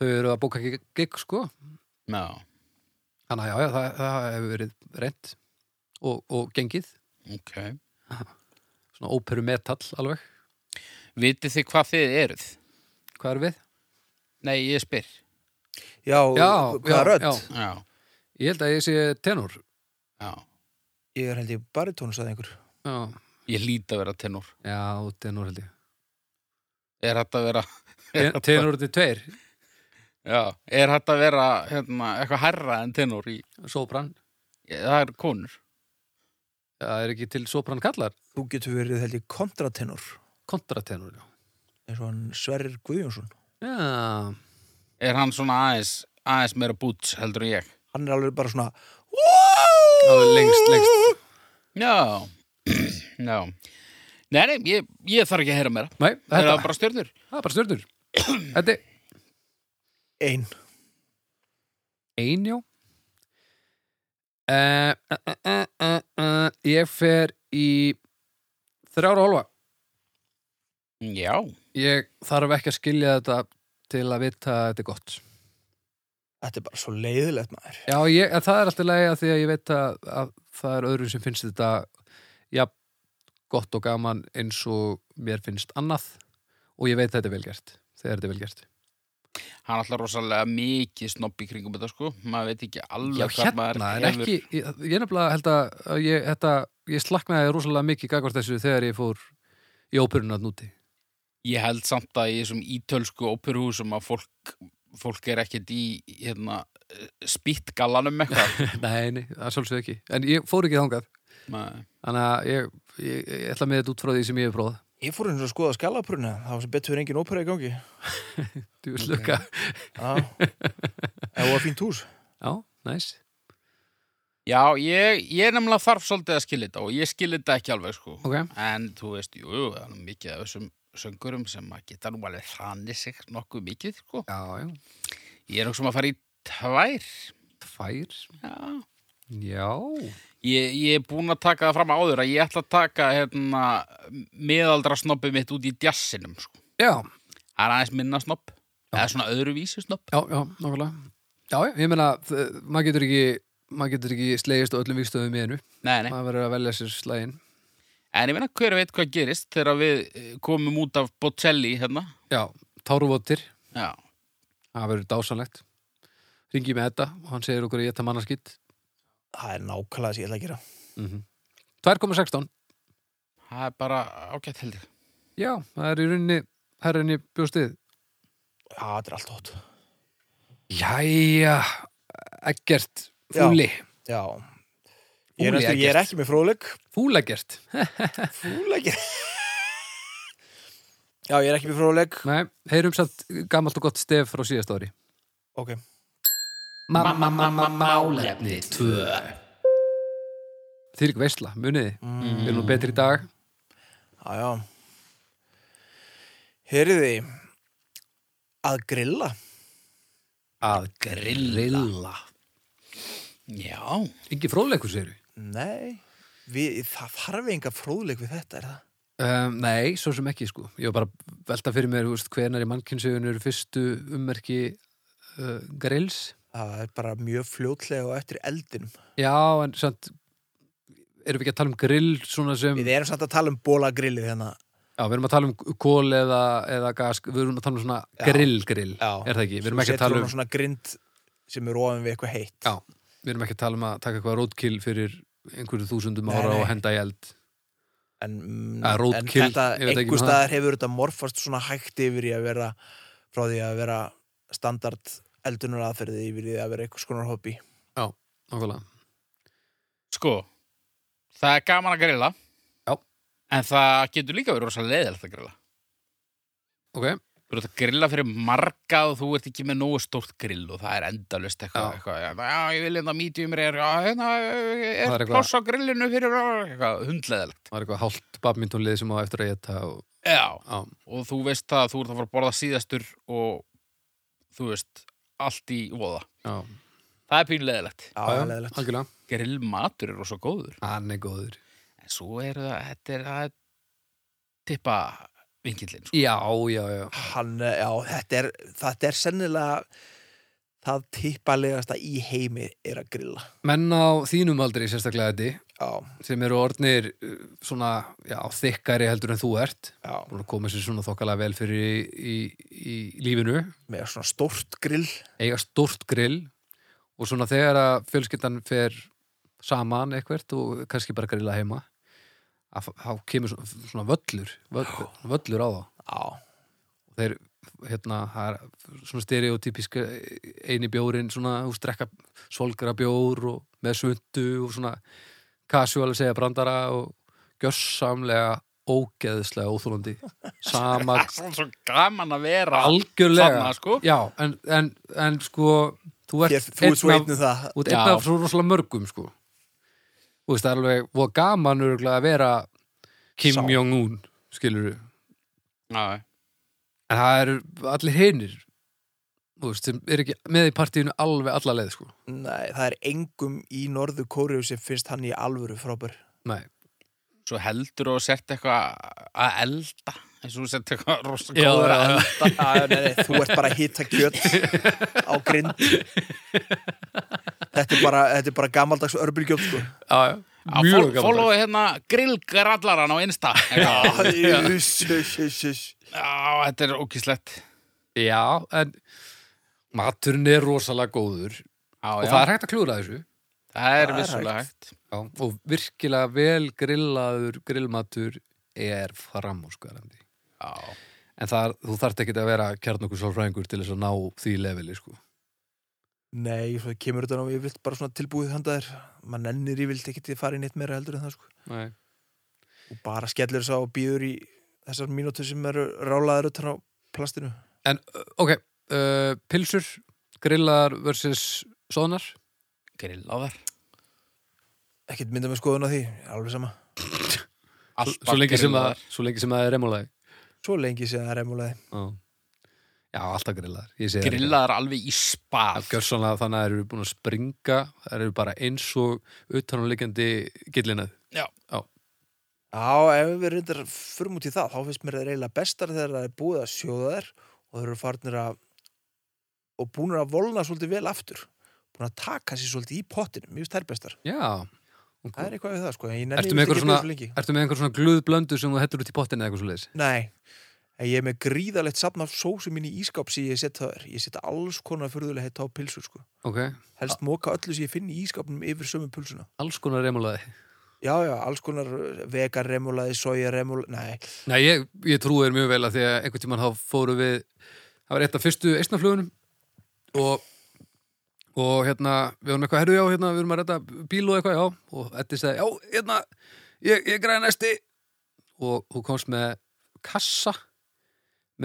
Speaker 2: þau eru að bóka gig- gig sko
Speaker 1: Já,
Speaker 2: þannig að já, já, það, það hefur verið reynd og, og gengið
Speaker 1: ok
Speaker 2: svona óperu metall alveg,
Speaker 1: Vitið þið hvað þið eruð?
Speaker 2: hvað er við?
Speaker 1: Nei, ég spyr
Speaker 3: Já,
Speaker 2: Já, já,
Speaker 3: hvaða rödd?
Speaker 2: já.
Speaker 1: Já,
Speaker 2: Ég held að ég sé tenor
Speaker 1: já
Speaker 3: Ég er held ég baritón, sagði einhver.
Speaker 2: já,
Speaker 1: Ég lít að vera tenor
Speaker 2: já tenor held ég
Speaker 1: Er hægt að vera
Speaker 2: Ten- tenor til tveir,
Speaker 1: Já, er hægt að vera hérna, eitthvað herra en tenor í
Speaker 2: sopran
Speaker 1: Það er konur
Speaker 2: það er ekki til sopran kallar
Speaker 3: Þú getur verið held ég kontratenor,
Speaker 2: kontratenor já.
Speaker 3: eins og hann Sverrir Guðjónsson.
Speaker 2: já,
Speaker 1: Er hann svona aðeins, aðeins meira búts heldur en ég
Speaker 3: Hann er alveg bara svona
Speaker 2: alveg lengst, lengst
Speaker 1: Já, já Nei, nei, ég, ég þarf ekki að heyra meira
Speaker 2: Nei,
Speaker 1: Það
Speaker 2: þetta,
Speaker 1: er bara stjörnur
Speaker 2: það er bara stjörnur Þetta er
Speaker 3: ein.
Speaker 2: Ein, já. Uh, uh, uh, uh, uh, ég fer í þrjára hálfa.
Speaker 1: Já,
Speaker 2: Ég þarf ekki að skilja þetta til að vita að þetta er gott.
Speaker 3: Þetta er bara svo leiðilegt maður.
Speaker 2: Já, ég, en það er alltaf leiða því að ég veit að, að það er öðru sem finnst þetta já, gott og gaman eins og mér finnst annað og ég veit að þetta er velgert, þegar þetta er velgert.
Speaker 1: hann er alltaf rosalega mikið snobb í kringum þetta sko Maður veit ekki alveg
Speaker 2: Já, hérna, en ekki, ég, ég nefnilega held að að ég, þetta, ég slaknaði rosalega mikið gagvart þessu þegar ég fór í óperunat núti.
Speaker 1: Ég held samt að í þessum ítölsku óperuhúsum að fólk, fólk er ekkert í hérna, spýttgallanum eitthvað
Speaker 2: Nei, nei, það er svolítið ekki En ég fór ekki þangað
Speaker 1: Nei.
Speaker 2: Þannig að ég, ég, ég ætla með þetta út frá því sem ég hef prófað
Speaker 3: Ég fór eins og að skoða skalapruna, það var sem betur engin ópera í gangi.
Speaker 2: Þú veist lukka
Speaker 3: Já, það var fínt hús.
Speaker 2: Já, næs
Speaker 1: Já, ég, ég nefnilega þarf svolítið að skilja þetta og ég skilja þetta ekki alveg sko
Speaker 2: Ok,
Speaker 1: en þú veist, jú, jú, það er nú mikið af þessum söngurum sem að geta nú alveg hranið sig nokkuð mikið sko.
Speaker 2: já, já,
Speaker 1: Ég er okkur sem að fara í tvær
Speaker 2: tvær
Speaker 1: Já.
Speaker 2: Já,
Speaker 1: Ég, ég er búin að taka það fram áður að ég ætla að taka hérna, meðaldra snobbið mitt út í djassinum sko.
Speaker 2: já,
Speaker 1: Það er aðeins minna snobb eða svona öðruvísi snobb
Speaker 2: já, já, nokkulega Já, já, ég meina, þ- maður getur ekki maður getur ekki slegist á öllum vikstöðum í einu
Speaker 1: Nei, nei,
Speaker 2: maður verður að velja sér slægin
Speaker 1: en ég meina hver veit hvað gerist þegar við eh, komum út af Bocelli hérna.
Speaker 2: Já, táruvottir,
Speaker 1: Já,
Speaker 2: það verður dásanlegt Ringi með þetta og hann segir okkur að ég þetta mannarskitt
Speaker 3: það er nákvæmlega það sem ég ætla að gera
Speaker 2: Mhm. 2,16
Speaker 1: Það er bara ágætt held ég.
Speaker 2: Já, það er í rauninni herrinni bjóstið
Speaker 3: Já, þetta er allt hot
Speaker 2: Jæja, ekkert Fúli,
Speaker 3: Já Ég
Speaker 2: Fúli
Speaker 3: er, næstur, ég er
Speaker 2: Eggert.
Speaker 3: ekki með fróðleik
Speaker 2: fúleggert
Speaker 3: Fúleik Já, ég er ekki með fróðleik
Speaker 2: Nei, heyrum satt gamalt og gott stef frá síðast ári
Speaker 3: Ok
Speaker 2: Málefni 2 Þýrik veisla, muniði
Speaker 3: Mm.
Speaker 2: Við erum nú betri í dag
Speaker 3: Já, já. Heyriði, að grilla.
Speaker 2: Að grilla
Speaker 1: Já.
Speaker 2: Ekki fróðleikur, segir við
Speaker 3: Nei, við, það þarf enga fróðleik við þetta, er það?
Speaker 2: Um, nei, svo sem ekki sko Ég var bara að velta fyrir mér, þú veist, hvenar í mannkynsögun eru fyrstu ummerki uh, grills
Speaker 3: Það er bara mjög fljótlega og eftir eldinum.
Speaker 2: Já, en samt erum við ekki að tala um grill svona sem
Speaker 3: Við erum samt að tala um bólagrillið hérna.
Speaker 2: Já, við erum að tala um kól eða, eða gas Við erum að tala um svona
Speaker 3: Já.
Speaker 2: grill, grill
Speaker 3: Já.
Speaker 2: Er það ekki? Við erum
Speaker 3: Svo
Speaker 2: ekki að
Speaker 3: setur
Speaker 2: tala
Speaker 3: hún á
Speaker 2: um
Speaker 3: Svona grind sem er ofin við eitthvað heitt.
Speaker 2: Já, við erum ekki að tala um að taka eitthvað rótkill fyrir einhverju þúsundum
Speaker 3: Nei,
Speaker 2: ára
Speaker 3: nei.
Speaker 2: og henda í eld
Speaker 3: En, mm,
Speaker 2: Ja, roadkill,
Speaker 3: en þetta,
Speaker 2: ég veit ekki um
Speaker 3: einhver
Speaker 2: það.
Speaker 3: staðar hefur þetta morfast svona hægt yfir í að vera, frá því að vera standard eldunar aðferði yfir í að vera eitthvað skonar hobby.
Speaker 2: Nákvæmlega
Speaker 1: Sko, það er gaman að grilla.
Speaker 2: Já.
Speaker 1: En það getur líka verið rosa leiðilegt að grilla.
Speaker 2: Ok,
Speaker 1: Þú ert að grilla fyrir marga og þú ert ekki með nógu stórt grill og það er endalust eitthvað.
Speaker 2: Já.
Speaker 1: eitthvað já, já, ég vil hérna medium rare, já, hérna
Speaker 2: Það er
Speaker 1: er
Speaker 2: eitthvað-
Speaker 1: pláss á grillinu fyrir eh, eitthvað hundleðilegt.
Speaker 2: það er eitthvað hálft badmintonlið sem á eftir að geta og,
Speaker 1: Já,
Speaker 2: á,
Speaker 1: og þú veist það að þú ert að fara að borða síðastur og þú veist, allt í voða.
Speaker 2: Já,
Speaker 1: Það er pínleðilegt.
Speaker 3: Já,
Speaker 2: já,
Speaker 3: leiðilegt.
Speaker 2: algjörlega
Speaker 1: Grillmatur er rosa góður.
Speaker 2: Hann er góður
Speaker 1: En svo eru það, þetta er að tippa vinkillin, sko.
Speaker 2: Já, já, já
Speaker 3: hann, já, þetta er, þetta er sennilega það tippalegasta í heimi er að grilla
Speaker 2: Menn á þínum aldrei sérstaklega þetta
Speaker 3: já,
Speaker 2: sem eru orðnir uh, svona, já, þykkari heldur en þú ert
Speaker 3: já,
Speaker 2: búin að koma sér svona þokkalega vel fyrir í, í, í lífinu
Speaker 3: með svona stórt grill
Speaker 2: eiga stórt grill og svona þegar að fjölskyldan fer saman eitthvert og kannski bara grilla heima að f- þá kemur svona, svona völlur völl, völlur á þá
Speaker 3: já,
Speaker 2: þeir, hérna, það er svona stereotypísk eh, eini bjórin svona, þú strekka solgra bjór og með svuntu og svona casual segja brandara og gjörsamlega ógeðslega óþólandi sama
Speaker 1: Það er svo gaman að vera
Speaker 2: algjörlega
Speaker 1: þarna, sko.
Speaker 2: já, en, en, en sko þú ert
Speaker 3: Hér, þú ert svo
Speaker 2: einn af-
Speaker 3: einn um það
Speaker 2: þú ert
Speaker 1: Já.
Speaker 2: einn af svo rosalega mörgum sko þú veist það er alveg voða gaman örgulega að vera Kim
Speaker 3: Sá.
Speaker 2: Jong-un skilur
Speaker 1: Já,
Speaker 2: en það eru allir hinir þú veist sem er ekki með í partíinu alveg alla leið sko
Speaker 3: Nei, það er engum í norðu kóriðu sem finnst hann í alvöru frábær
Speaker 2: Nei.
Speaker 1: svo heldur og sett eitthvað að elda eins og þú sett eitthvað rosa
Speaker 2: Já,
Speaker 1: góður að
Speaker 2: já,
Speaker 1: elda
Speaker 3: Þa, að, nei, nei, þú ert bara að hita kjöt á grind þetta er bara, þetta er bara gamaldags örbylgjótt sko.
Speaker 2: Já, já.
Speaker 1: að
Speaker 2: mjög
Speaker 1: fólk
Speaker 2: gaman
Speaker 1: fólói hérna grillgrallaran á Insta eitthvað.
Speaker 3: Uss, uss, uss, uss.
Speaker 1: Já, þetta er ókíslegt
Speaker 2: já, en maturinn er rosalega góður
Speaker 1: Já,
Speaker 2: og
Speaker 1: já,
Speaker 2: það er hægt að klúra þessu
Speaker 1: það er
Speaker 3: Það er
Speaker 1: vissulega hægt
Speaker 2: Já, og virkilega vel grillaður grillmatur er framúrskarandi.
Speaker 1: Já,
Speaker 2: En það, þú þarft ekki að vera kjarnokur sálfræðingur til þess að ná því leveli, sko.
Speaker 3: Nei, svo kemur þetta nú yfirlt bara svona tilbúið handaðir mann ennir yfirlt ekki til að fara í neitt meira heldur en það sko
Speaker 2: Nei.
Speaker 3: og bara skellur þess á og býður í þessar mínútur sem eru rálaðar utan á plastinu
Speaker 2: En, ö, ok, uh, pilsur, grillaðar versus soðnar.
Speaker 1: grillaðar
Speaker 3: ekkert mynda með skoðun á því, alveg sama
Speaker 2: Svo, svo, lengi sem að- svo lengi sem að það er remulagi.
Speaker 3: svo lengi sem það er emulaði
Speaker 2: Já. Já, alltaf grillaðar. Ég segi það ekki.
Speaker 1: grillaðar alveg í spað
Speaker 2: Það gjör svona þannig að það eru búin að springa, það eru bara eins og utanulegjandi gillinað.
Speaker 3: Já, ef við reyndar förum út í það, þá finnst mér það reyla bestar þegar það er búið að sjóða þær og þeir eru farnir að og búnir að volna svolítið vel aftur búin að taka sér svolítið í pottinu mér finnst þær bestar,
Speaker 2: Já.
Speaker 3: það er eitthvað við það sko en ég nenni
Speaker 2: Ertu
Speaker 3: yfirleitt
Speaker 2: með einhver
Speaker 3: ekki að
Speaker 2: svona,
Speaker 3: bíða svo lengi.
Speaker 2: ertu með einhver svona glöðblöndu sem þú hettur út í pottinu eða eitthvað svo leiðis?
Speaker 3: Nei, að ég er með gríðalegt safn af sósum mín í ískáp sem ég set það er. Ég set alls konar furðulega hetta á pilsur sko.
Speaker 2: ok,
Speaker 3: Helst móka öllu sem ég finn í ískápnum yfir sömu pulsuna.
Speaker 2: alls konar remulaði
Speaker 3: Já, já, alls konar eh, vegarremulaði, sojaremulaði, nei,
Speaker 2: Nei, ég, ég trúi þér mjög vel að því að einhvern tímann þá fóru við það var eitt af fyrstu eistnaflugunum og, og hérna við vorum eitthvað, herru já, hérna, við vorum að redda bíl og eitthvað, já, og Eddi sagði, já, hérna ég, ég græði næsti og hún komst með kassa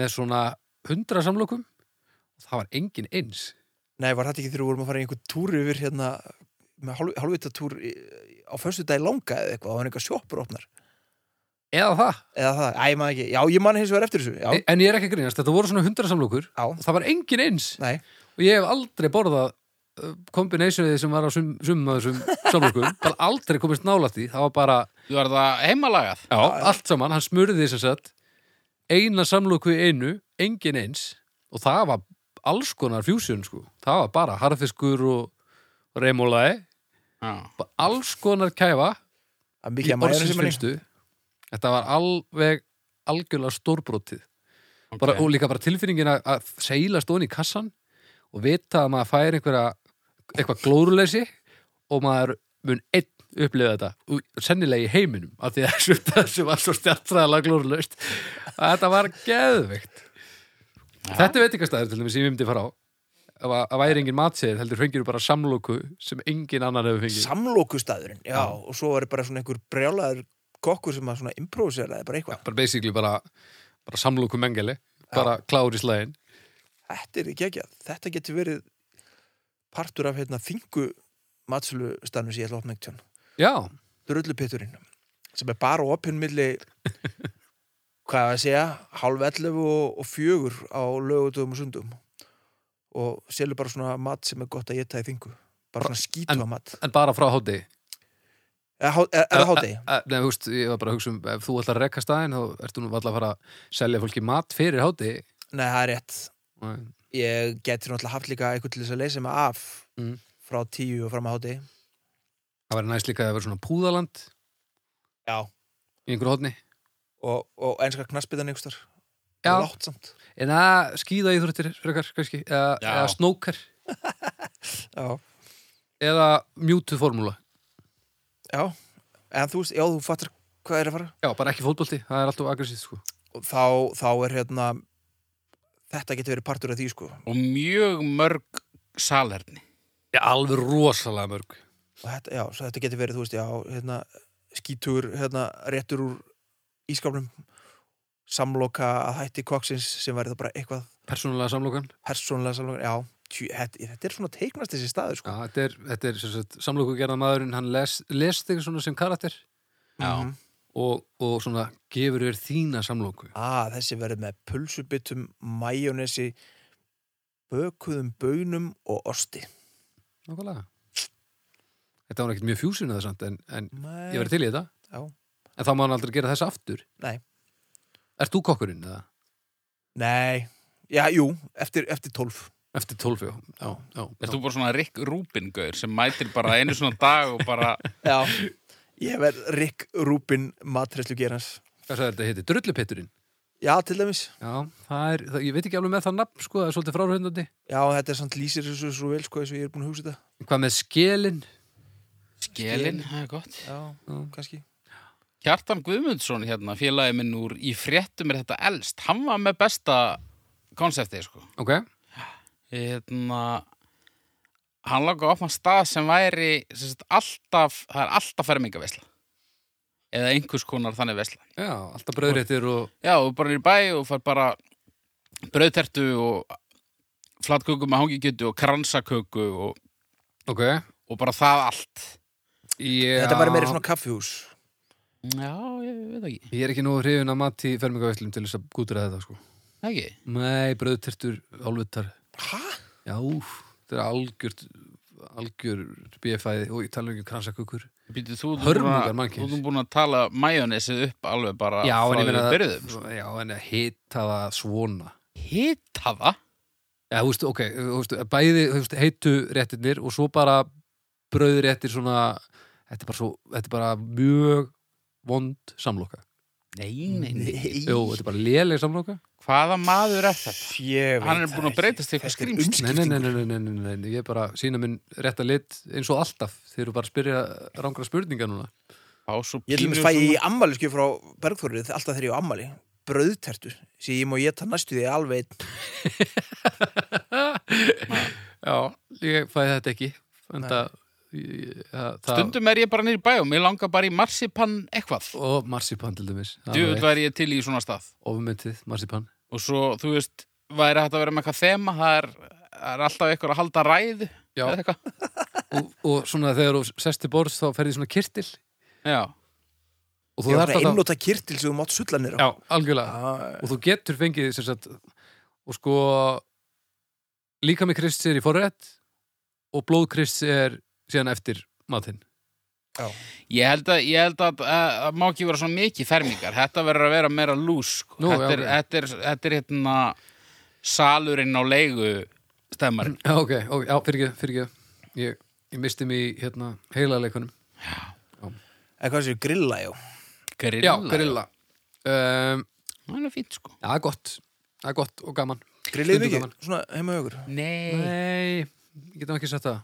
Speaker 2: með svona hundra samlokum og það var engin eins
Speaker 3: nei, var þetta ekki þegar við vorum að fara í einhver túr yfir hérna, með hálf, hálfvita túr í- á föstu dag langa eða eitthvað, það var einhver sjoppur opnar.
Speaker 2: eða það,
Speaker 3: Eða það, æ, ég man ekki, já, ég man hins vegar eftir þessu, já,
Speaker 2: en ég er ekki að grínast þetta voru svona hundra samlokur
Speaker 3: já,
Speaker 2: og það var engin eins
Speaker 3: nei,
Speaker 2: og ég hef aldrei borðað uh, kombinæsjöði sem var á sum, summa þessum samlokum, bara aldrei komist nálætt í það var bara,
Speaker 1: Þú var það heimalagað.
Speaker 2: já, allt saman hann smurði sem sagt eina samloku í einu, engin eins og það var alls konar fusion sko, það var bara harfiskur og remulaði
Speaker 1: Já.
Speaker 2: bara alls konar kæfa
Speaker 3: það er
Speaker 2: í
Speaker 3: mikið að maður
Speaker 2: orðsins finnstu þetta var alveg algjörlega stórbrotið
Speaker 1: ok.
Speaker 2: bara, og líka bara tilfinningin að, að seilast ofan í kassan og vita að maður fær einhverja eitthvað glóruleysi og maður mun einn upplifa þetta og sennilega í heiminum af því að sumt af þessu var svo stjartræðalega glórulaust að þetta var geðveikt þetta er veitingastæður til dæmis sem ég myndi fara á ef að að væri engin matsegir heldur fengir bara samlóku sem engin annar hefur fengið
Speaker 3: samlokustæðurinn, já, og svo var bara svona einhver brjálaður kokkur sem að svona improviseraði bara eitthvað.
Speaker 2: bara basically bara, bara samlóku mengeli bara klári slæðin
Speaker 3: Þetta er ekki ekki að, þetta getur verið partur af hérna þingu matsölu stannum sem ég ætla að opna einhvern tjón.
Speaker 2: já,
Speaker 3: drullupitturinn sem er bara opinn milli hvað á að segja, hálf 11 og, og fjögur á lögutum og sundum og selur bara svona mat sem er gott að geta í þingu bara svona skítuða mat
Speaker 2: en bara frá hátti
Speaker 3: eða há- er er það hátegi?
Speaker 2: Eh, Nei, þú veist, ég var bara að hugsa um ef þú ætlar að rekka staðinn, þá ertu nú alltaf að fara að selja fólki mat fyrir hátti
Speaker 3: Nei, það er rétt
Speaker 2: Já,
Speaker 3: ég getur náttúrulega haft líka eitthvað til þess að leysa mig af
Speaker 2: Mm.
Speaker 3: frá tíu og fram að hátegi
Speaker 2: það væri næst líka að það vera svona púðaland
Speaker 3: já,
Speaker 2: í einhverju hóttni
Speaker 3: og, og einska knassbytan einhverstar
Speaker 2: Já.
Speaker 3: látt samt
Speaker 2: en að skýða í þurftir frekar, kannski eða,
Speaker 1: Já.
Speaker 2: eða snókar,
Speaker 3: já.
Speaker 2: eða mjútuð formúla
Speaker 3: já, en þú veist, já, þú fattar hvað er að fara
Speaker 2: Já, bara ekki fótbolti, það er alltaf aggressíð sko.
Speaker 3: og þá, þá er hérna þetta getur verið partur af því sko
Speaker 1: Og mjög mörg salerni.
Speaker 2: Já, alveg rosalega mörg
Speaker 3: og þetta, já, svo þetta getur verið, þú veist, já, hérna skítur, hérna, réttur úr ískapnum samloka að hætti koksins sem væri það bara eitthvað
Speaker 2: Persónulega samlokan
Speaker 3: persónlega samloka, já, tjú, þetta, þetta er svona teiknast þessi staður
Speaker 2: Já,
Speaker 3: sko
Speaker 2: þetta er, þetta er sem sagt, samlokugerða maðurinn hann les, les þig svona sem karakter
Speaker 1: Já.
Speaker 3: Mhm.
Speaker 2: og, og svona gefur þér þína samloku
Speaker 3: að þessi verið með pulsubitum, majónesi bökuðum bönum og osti
Speaker 2: Nákvæmlega Þetta var ekkert mjög fjúsinu það samt en, en
Speaker 3: Nei,
Speaker 2: ég verið til í þetta
Speaker 3: Já.
Speaker 2: En þá má hann aldrei gera þess aftur
Speaker 3: Nei.
Speaker 2: Ert þú kokkurinn eða?
Speaker 3: Nei, já, jú, eftir, eftir 12
Speaker 2: Eftir tólf, já, já, já,
Speaker 1: Er
Speaker 2: já.
Speaker 1: þú bara svona Rick Rubin-gaur sem mætir bara einu svona dag og bara...
Speaker 3: Já, ég verð Rick Rubin matreslu gerans
Speaker 2: Hvað sagði þetta heiti? Drullupitturinn
Speaker 3: Já, til dæmis
Speaker 2: Já, það er, það, ég veit ekki alveg með það nafn sko, það er svolítið frárhundandi
Speaker 3: Já, þetta er samt lýsir þessu svo vel sko eins og ég er búin að hugsa þetta
Speaker 2: Hvað með skelin?
Speaker 1: Skelin, það er gott.
Speaker 3: Já, kannski
Speaker 1: Kjartan Guðmundsson hérna, félagi minn úr í fréttum er þetta elst. Hann var með besta konseptið, sko.
Speaker 2: Ok,
Speaker 1: Hérna, hann laga opna stað sem væri sem sagt, alltaf, það er alltaf fermingaveisla. Eða einhvers konar þannig veisla.
Speaker 2: já, alltaf brauðréttir og
Speaker 1: Já, og bara niður í bæ og fær bara brauðtertu og flatköku með hangikjötu og kransaköku og,
Speaker 2: Ok
Speaker 1: og bara það allt.
Speaker 2: já,
Speaker 3: Þetta var meira svona kaffihús
Speaker 1: Já, ég veit ekki.
Speaker 2: Ég er ekki nú hrifin að mati fermingavæslum til þess að gútra þetta sko
Speaker 1: Ekki?
Speaker 2: Nei, brauðtertur, álfutar
Speaker 3: Hæ?
Speaker 2: Já, þetta er algjört algjör BFI og ég tala um ekki kransakökur
Speaker 1: Býtu, þú
Speaker 2: Hörmungar
Speaker 1: þú
Speaker 2: mannkyns.
Speaker 1: erum búin að tala majónesið upp alveg bara
Speaker 2: Já, en
Speaker 1: frá
Speaker 2: ég
Speaker 1: því
Speaker 2: meina
Speaker 1: við
Speaker 2: að-
Speaker 1: byrjuðum. sko.
Speaker 2: Já, en að hita það svona
Speaker 1: Hita það?
Speaker 2: Já, þú veist, ok, þú veist, bæði þú veist, heitu réttirnir og svo bara brauðréttir svona þetta er bara, svo, þetta er bara mjög vond samloka
Speaker 1: Nei, nei, nei.
Speaker 2: Jú, þetta er bara léleg samloka
Speaker 1: Hvaða maður er þetta?
Speaker 3: Ég veit
Speaker 1: Hann er
Speaker 3: það
Speaker 1: búin að
Speaker 3: ekki.
Speaker 1: breytast í eitthvað
Speaker 3: Þetta er
Speaker 1: skrýmsli.
Speaker 2: nei nei,
Speaker 3: umskipting.
Speaker 2: nei, nei, nei, nei, nei, nei, ég er bara að sína minn rétta lit eins og alltaf þeir eru bara að spyrja rángra spurninga núna
Speaker 1: Á svo
Speaker 3: Ég til
Speaker 1: pínu
Speaker 3: dæmis fæ í ammæliskjöf frá Bergþórið alltaf þegar ég á ammæli brauðtertu, sem ég má ég ta næstu því alveg einn.
Speaker 2: Já, ég fæði þetta ekki en það, ég, það það-
Speaker 1: Stundum er ég bara niður í bæ og mér langar bara í marsipan eitthvað.
Speaker 2: og marsipan til dæmis Það
Speaker 1: Djöfull
Speaker 2: er
Speaker 1: væri ég til í svona stað.
Speaker 2: ofmyndið marsipan
Speaker 1: Og svo, þú veist, væri hægt að vera með eitthvað þema, það er, það er alltaf eitthvað að halda ræðu.
Speaker 2: Já.
Speaker 1: eða eitthvað.
Speaker 2: og, og svona þegar þú sest til borðs þá ferði svona kirtil
Speaker 1: Já.
Speaker 2: og
Speaker 3: Ég
Speaker 2: þú
Speaker 3: var
Speaker 2: þarft
Speaker 3: svona
Speaker 2: að
Speaker 3: einnóta kirtil sem þú mátt sulla nýra.
Speaker 2: Já, algjörlega
Speaker 3: Ah,
Speaker 2: og þú getur fengið sem sagt og sko líka með krist er í forrætt og blóð krist er síðan eftir matinn
Speaker 1: Ég held að, ég held að, að, að má ekki vera svona mikið fermingar. Þetta verður að vera meira lús. sko.
Speaker 2: Nú,
Speaker 1: þetta,
Speaker 2: já,
Speaker 1: er,
Speaker 2: ok.
Speaker 1: þetta, er, þetta er hérna salurinn á leigu stemmarinn.
Speaker 2: Já, ok, ok, já, fyrir ekki, fyrir ekki ég, ég misti mig í hérna heilaleikunum
Speaker 3: En hvað séu, grilla, já.
Speaker 1: Grilla.
Speaker 2: Já, grilla um,
Speaker 1: Það er fínt, sko.
Speaker 2: Já, það er gott, það er gott og gaman
Speaker 3: Grillið
Speaker 2: Stundum
Speaker 3: mikið,
Speaker 2: gaman.
Speaker 3: svona heima hjá ykkur.
Speaker 1: Nei.
Speaker 2: Nei, ég getum ekki sagt það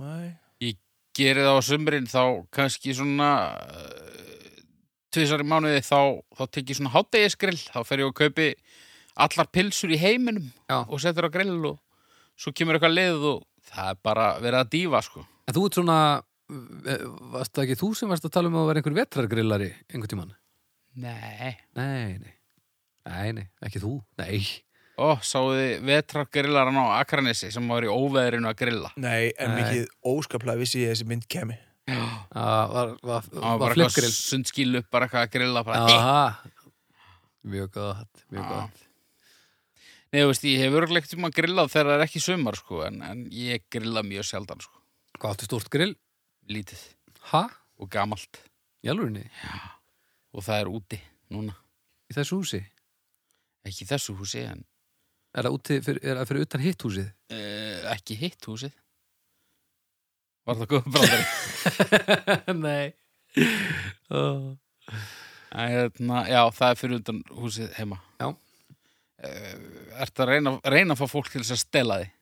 Speaker 3: Nei.
Speaker 1: Ég geri það á sumrin þá kannski svona uh, tvisar í mánuði þá, þá tek ég svona hátægisgrill, þá fer ég og kaupi allar pilsur í heiminum
Speaker 2: Já.
Speaker 1: og setur á grill og svo kemur eitthvað leið og það er bara verið að dífa, sko.
Speaker 2: En þú ert svona, eh, varst það ekki þú sem varst að tala um að vera einhver vetrargrillari einhvern tímann?
Speaker 1: Nei.
Speaker 2: Nei, nei, nei, nei, ekki þú, nei
Speaker 1: Ó, sáði vetrargrillaran á Akranesi sem var í óveðrinu að grilla.
Speaker 3: Nei, en
Speaker 2: Nei.
Speaker 3: mikið óskaplega vissi ég að þessi mynd kemi.
Speaker 2: Það Ah, var, var,
Speaker 1: Það Ah,
Speaker 2: var,
Speaker 1: var bara eitthvað
Speaker 2: flipgrill
Speaker 1: sundskýl upp, bara eitthvað að grilla. Bara, "Eh."
Speaker 2: Aha, mjög gott, mjög
Speaker 1: Já.
Speaker 2: gott
Speaker 1: Nei, þú veist, ég hef örglegt um að grilla þegar það er ekki sumar, sko, en, en ég grilla mjög sjaldan, sko.
Speaker 2: Hvað áttu stórt grill?
Speaker 1: Lítið
Speaker 2: Ha?
Speaker 1: og gamalt.
Speaker 2: Í alvörinni?
Speaker 1: og það er úti núna
Speaker 2: Í þessu húsi?
Speaker 1: ekki í þessu húsi en
Speaker 2: Er það, úti, fyrir, er það fyrir utan hitt húsið?
Speaker 1: uh, ekki hitt húsið var það góð bráður
Speaker 2: Nei oh.
Speaker 1: hérna, já það er fyrir undan húsið heima
Speaker 2: Já.
Speaker 1: uh, ert að reyna, reyna að fá fólk til þess að stela því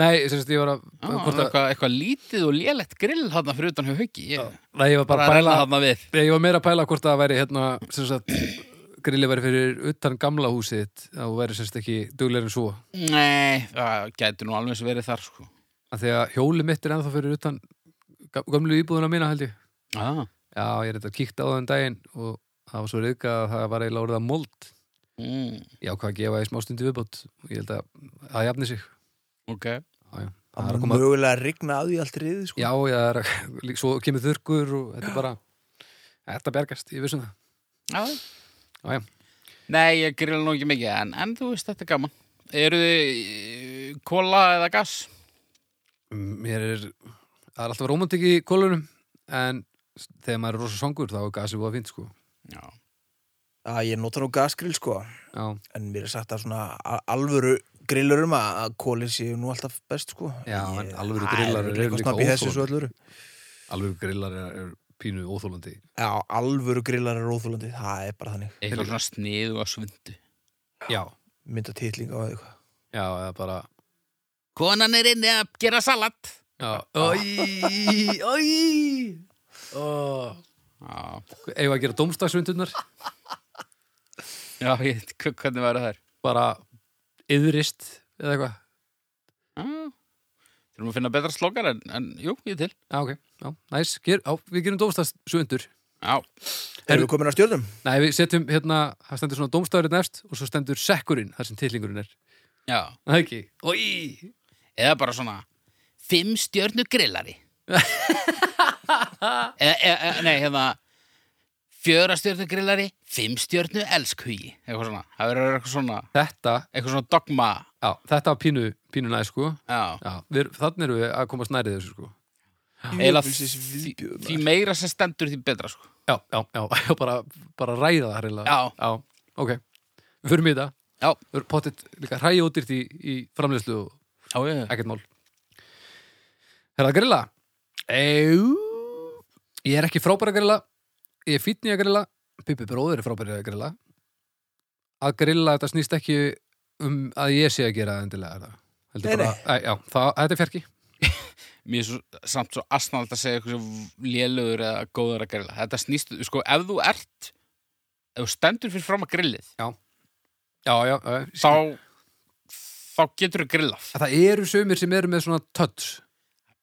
Speaker 2: Nei, sem sagt ég var að
Speaker 1: Já,
Speaker 2: hvort að-
Speaker 1: eitthvað, eitthvað lítið og lélegt grill hann fyrir utan hjá hauki ég,
Speaker 2: Nei, ég var bara
Speaker 1: bara
Speaker 2: að
Speaker 1: að reyna
Speaker 2: pæla
Speaker 1: hann við
Speaker 2: Ég ég var meira að pæla hvort það væri hérna sem sagt grilli væri fyrir utan gamla húsið þitt, að þú væri sem sagt ekki dugleir en svo
Speaker 1: nei, það gæti nú alveg eins verið þar sko.
Speaker 2: að því að hjóli mitt er ennþá fyrir utan gam- gömlu íbúðuna mína held ég
Speaker 1: ah.
Speaker 2: Já, ég er þetta kíkt á það um daginn og það var svo reyðka að það var eiginlega orðið að mold
Speaker 1: mm,
Speaker 2: Já, hvað að gefa í smástundu viðbót og ég held að það jafni sig
Speaker 1: ok
Speaker 2: Já, já, það er
Speaker 3: Það
Speaker 2: að
Speaker 3: er
Speaker 2: koma
Speaker 3: mögulega að rigna að því allt riðið, sko.
Speaker 2: Já, já, það er að, lík- svo kemur þurrkur og þetta er bara Þetta bergast, ég vissum það
Speaker 1: Já.
Speaker 2: Já, já.
Speaker 1: Nei, ég grilla nú ekki mikið, en, en þú veist, þetta er gaman. Eru þið kóla eða gas?
Speaker 2: Mér er, það er alltaf rómantik í kólunum en s- þegar maður er rosa svangur þá er gasið búið að fínt sko
Speaker 1: Já.
Speaker 3: Já, ég nota nú gasgrill, sko.
Speaker 2: Já,
Speaker 3: En mér er sagt að svona a- alvöru grillurum að að kólið séu nú alltaf best, sko.
Speaker 2: Já,
Speaker 3: Ég-
Speaker 2: en alvöru
Speaker 3: Það
Speaker 2: grillar eru
Speaker 3: örugglega eitthvað
Speaker 2: líka
Speaker 3: snabb í þessu
Speaker 2: óþolandi.
Speaker 3: svo allur.
Speaker 2: alveg grillar er, er pínu óþólandi
Speaker 3: Já, alvöru grillar er óþúlandi. Það er bara þannig.
Speaker 1: Eitthvað svona sniðu og svundu.
Speaker 2: Já,
Speaker 3: Mynda titling á eitthvað.
Speaker 2: já, eða bara
Speaker 1: Konan er inni að gera salat.
Speaker 2: Já, oi, oi Ó,
Speaker 1: Já,
Speaker 2: eigum við að gera domstagsvindunar
Speaker 1: Já ég veit hva- hvernig væri það er.
Speaker 2: bara yðrist eða eitthvað
Speaker 1: Þurfum að finna betra slokar, en, en jú, ég er til.
Speaker 2: Já, ok, já, næs, Ger, á, við gerum domstagsvindur
Speaker 1: Já,
Speaker 3: Erum við komin að stjórnum?
Speaker 2: Nei, við setjum hérna, það stendur svona domstagurinn efst og svo stendur sekkurinn, þar sem tillingurinn er
Speaker 1: já.
Speaker 2: Það er ekki, oi
Speaker 1: Eða bara svona, fimm stjörnu grillari. e, e, e, nei, hérna, fjöra stjörnu grillari, fimm stjörnu elskhugi. Eitthvað svona. Það verður eitthvað svona,
Speaker 2: Þetta,
Speaker 1: eitthvað svona dogma
Speaker 2: já, þetta var pínu, pínu næs sko
Speaker 1: Já,
Speaker 2: Já, við, þannig erum við að koma snærið þessu sko
Speaker 1: eiginlega
Speaker 3: Jöfnlsins
Speaker 1: því,
Speaker 3: viðbjóður,
Speaker 1: því
Speaker 3: maður.
Speaker 1: meira sem stendur því betra sko.
Speaker 2: Já, já, já, já bara, bara ræða það reyla
Speaker 1: Já.
Speaker 2: já, ok, við förum í þetta
Speaker 1: Já,
Speaker 2: Við erum pottitt líka hræði ódýrt í, í framleiðslu og
Speaker 1: já, já, já.
Speaker 2: ekkert mál Herra að grilla Eú Ég er ekki frábæra grilla Ég er fínn í að grilla Pippi bróður er frábærið að grilla að grilla þetta snýst ekki um að ég sé að gera það endilega það.
Speaker 3: Nei,
Speaker 2: heldur bara, Æ, já, það, þetta er fjarki
Speaker 1: Mér er svo, samt svo asnald að segja eitthvað sem lélögur eða góður að grilla. Þetta snýst, sko, ef þú ert, ef þú stendur fyrir fram að grillið,
Speaker 2: já, já, já, ég skil.
Speaker 1: þá, þá getur þú grillað.
Speaker 2: Að það eru sumir sem eru með svona touch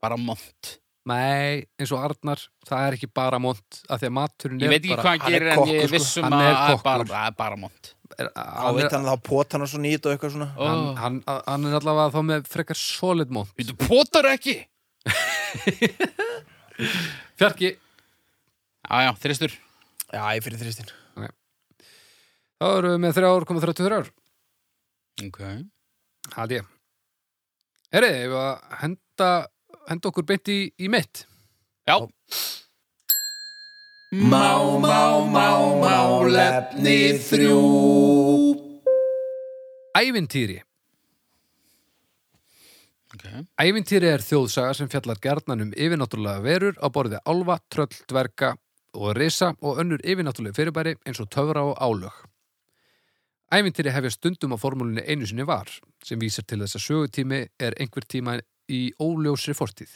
Speaker 1: Bara mont.
Speaker 2: nei, eins og Arnar, það er ekki bara mont, af því að maturinn
Speaker 1: Ég
Speaker 2: er
Speaker 1: veit ekki
Speaker 2: bara
Speaker 1: hvað hann
Speaker 3: hann er
Speaker 1: gerir en ég
Speaker 3: kokkur,
Speaker 1: er
Speaker 3: sko.
Speaker 1: vissum
Speaker 2: Hann
Speaker 1: að
Speaker 2: er
Speaker 1: það er
Speaker 2: kokkur.
Speaker 1: bara- það er bara mont.
Speaker 2: er,
Speaker 3: Á
Speaker 2: hann,
Speaker 3: veit
Speaker 2: er,
Speaker 3: hann þá potan og svona í þetta og eitthvað svona
Speaker 2: hann,
Speaker 1: Ó,
Speaker 2: hann, hann er allavega þá með frekar solid mont
Speaker 1: Við þú potar ekki?
Speaker 2: fjarki,
Speaker 1: Já, já, þristur.
Speaker 3: Já, ég fyrir þristinn
Speaker 2: þá eru við með 3,33 ár
Speaker 1: Ok.
Speaker 2: Það ég. Herri, ef að henda, henda okkur beint í, í mitt.
Speaker 1: Já.
Speaker 3: Má, má, má, málefni þrjú
Speaker 2: Ævintýri.
Speaker 1: Ok.
Speaker 2: Ævintýri er þjóðsaga sem fjallar gjarnan um yfirnáttúrulega verur á borðið álfa, tröll, dverga og risa og önnur yfirnáttúrulega fyrirbæri eins og töfra og álög. Ævintýri hefja stundum á formúlunni einu sinni var, sem vísar til þess að sögutími er einhver tíma í óljósri fortíð.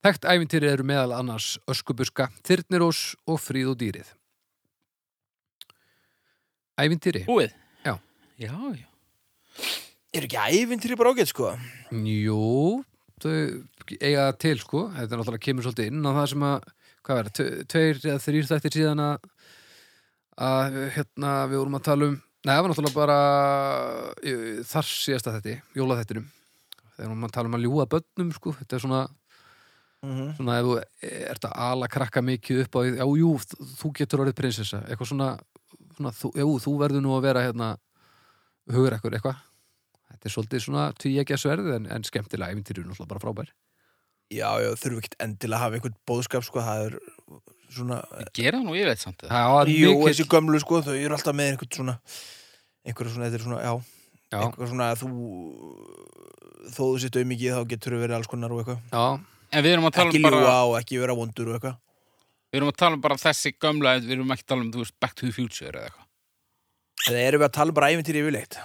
Speaker 2: Þekkt ævintýri eru meðal annars öskubuska, þyrnirós og fríð og dýrið. Ævintýri?
Speaker 1: Búið?
Speaker 2: Já.
Speaker 1: Já, já.
Speaker 3: Er ekki ævintýri bara ágætt sko?
Speaker 2: Jú, þau eiga það til sko, þetta er náttúrulega kemur svolítið inn á það sem að, hvað verður, tve- tveir eða þrýr þættir síðan að, að hérna við vorum að tala um, nei það var náttúrulega bara eh, þar síðasta þætti, jólaþættinum, þegar vorum að tala um að ljúga börnum sko, þetta er svona,
Speaker 3: Mm -hmm.
Speaker 2: svona ef þú ert að ala krakka mikið upp á, já jú, þú getur orðið prinsessa, eitthvað svona, svona þú, jú, þú verður nú að vera hérna hugur ekkur eitthvað þetta er svolítið svona tvíegja sverð en, en skemmtilega æfintýri er náttúrulega bara frábær
Speaker 3: Já, já, þurfum ekkert endilega að hafa einhvern bóðskap sko, það er svona
Speaker 1: Gera það nú yfirleitt samt það.
Speaker 2: það er
Speaker 3: Jú,
Speaker 2: mikið
Speaker 3: þessi gömlu sko, þau eru alltaf með einhvern svona einhverja svona, þetta er svona, já,
Speaker 2: já,
Speaker 3: einhverja svona að þú þó þú sitt auðmikið þá getur þú verið alls konar og eitthvað
Speaker 2: já,
Speaker 1: En við erum að tala
Speaker 3: ekki
Speaker 1: um bara...
Speaker 3: ljúa og ekki vera vondur og eitthvað
Speaker 1: Við erum að tala um bara þessi gömla, við erum ekki að tala um, þú veist, Back to the Future eða eitthvað.
Speaker 3: eða erum við að tala um bara ævintýri yfirleitt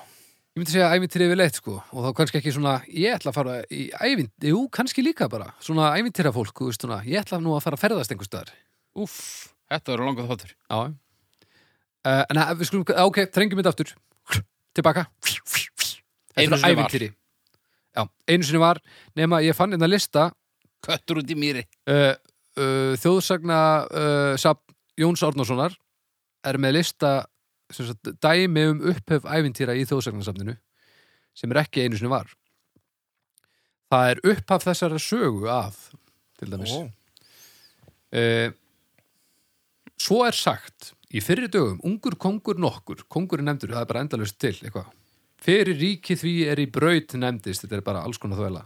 Speaker 2: ég myndi segja æfintýri við leitt sko og þá kannski ekki svona, ég ætla að fara í æfintýri, jú, kannski líka bara svona æfintýra fólk, þú veist svona, ég ætla nú að fara að ferðast einhver staðar
Speaker 1: Úff, þetta verður langað þáttur.
Speaker 2: já uh, en að- við skulum, ok, þrengjum þetta aftur tilbaka
Speaker 1: Einu
Speaker 2: Þetta er
Speaker 1: sinni var.
Speaker 2: ævintýri já, einu sinni var, nema ég fann einna lista
Speaker 1: Köttur út í mýri.
Speaker 2: uh, uh, þjóðsagna uh, safn Jóns Árnasonar er með lista sem sagt, dæmi um upphef ævintýra í þjóðsagnasafninu sem er ekki einu sinni var það er upphaf þessara sögu af til dæmis
Speaker 3: Ó.
Speaker 2: Eh, svo er sagt í fyrri dögum, ungur kongur nokkur kongur er nefndur, það er bara endalaust til eitthvað. fyrir ríki því er í braut nefndist, þetta er bara alls konar þvæla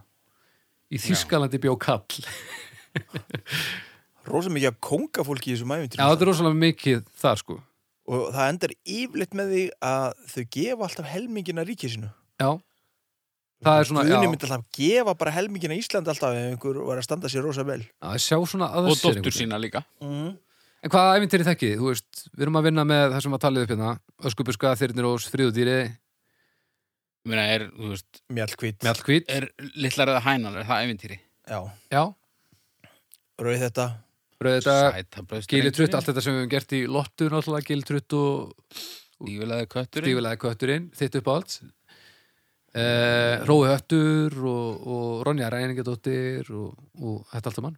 Speaker 2: í Þískalandi bjó kall já,
Speaker 3: rosa mikið að kónga fólki í þessum ævintýri
Speaker 2: þetta er rosalega mikið þar sko
Speaker 3: og það endar yfirleitt með því að þau gefa alltaf helmingina ríkið sinu
Speaker 2: já, það er svona já,
Speaker 3: Guðni myndi alltaf gefa bara helmingina Íslandi alltaf ef einhver var að standa sér rosa vel
Speaker 2: að sjá svona að
Speaker 1: Og dóttur sína líka.
Speaker 2: Mhm.
Speaker 3: mm.
Speaker 2: en hvaða æfintir er þekkið, þú veist, við erum að vinna með það sem að talið upp hérna, öskubuska, þyrnir og friðudýri,
Speaker 1: Ég meina, er, þú veist,
Speaker 3: Mjallkvít
Speaker 2: mjallkvít
Speaker 1: er litlar eða hænan, er það eventýri?
Speaker 3: Já,
Speaker 2: já,
Speaker 3: rauð þetta
Speaker 2: bröðu þetta
Speaker 1: Sæta blöðst.
Speaker 2: Gilitrutt, allt þetta sem við höfum gert í lottu náttúrulega, gilitrutt og
Speaker 1: Stífilega kötturinn.
Speaker 2: stífilega kötturinn, þitt upp á allt eh, Rói Höttur og, og Ronja Ræningadóttir og, og þetta allt um hann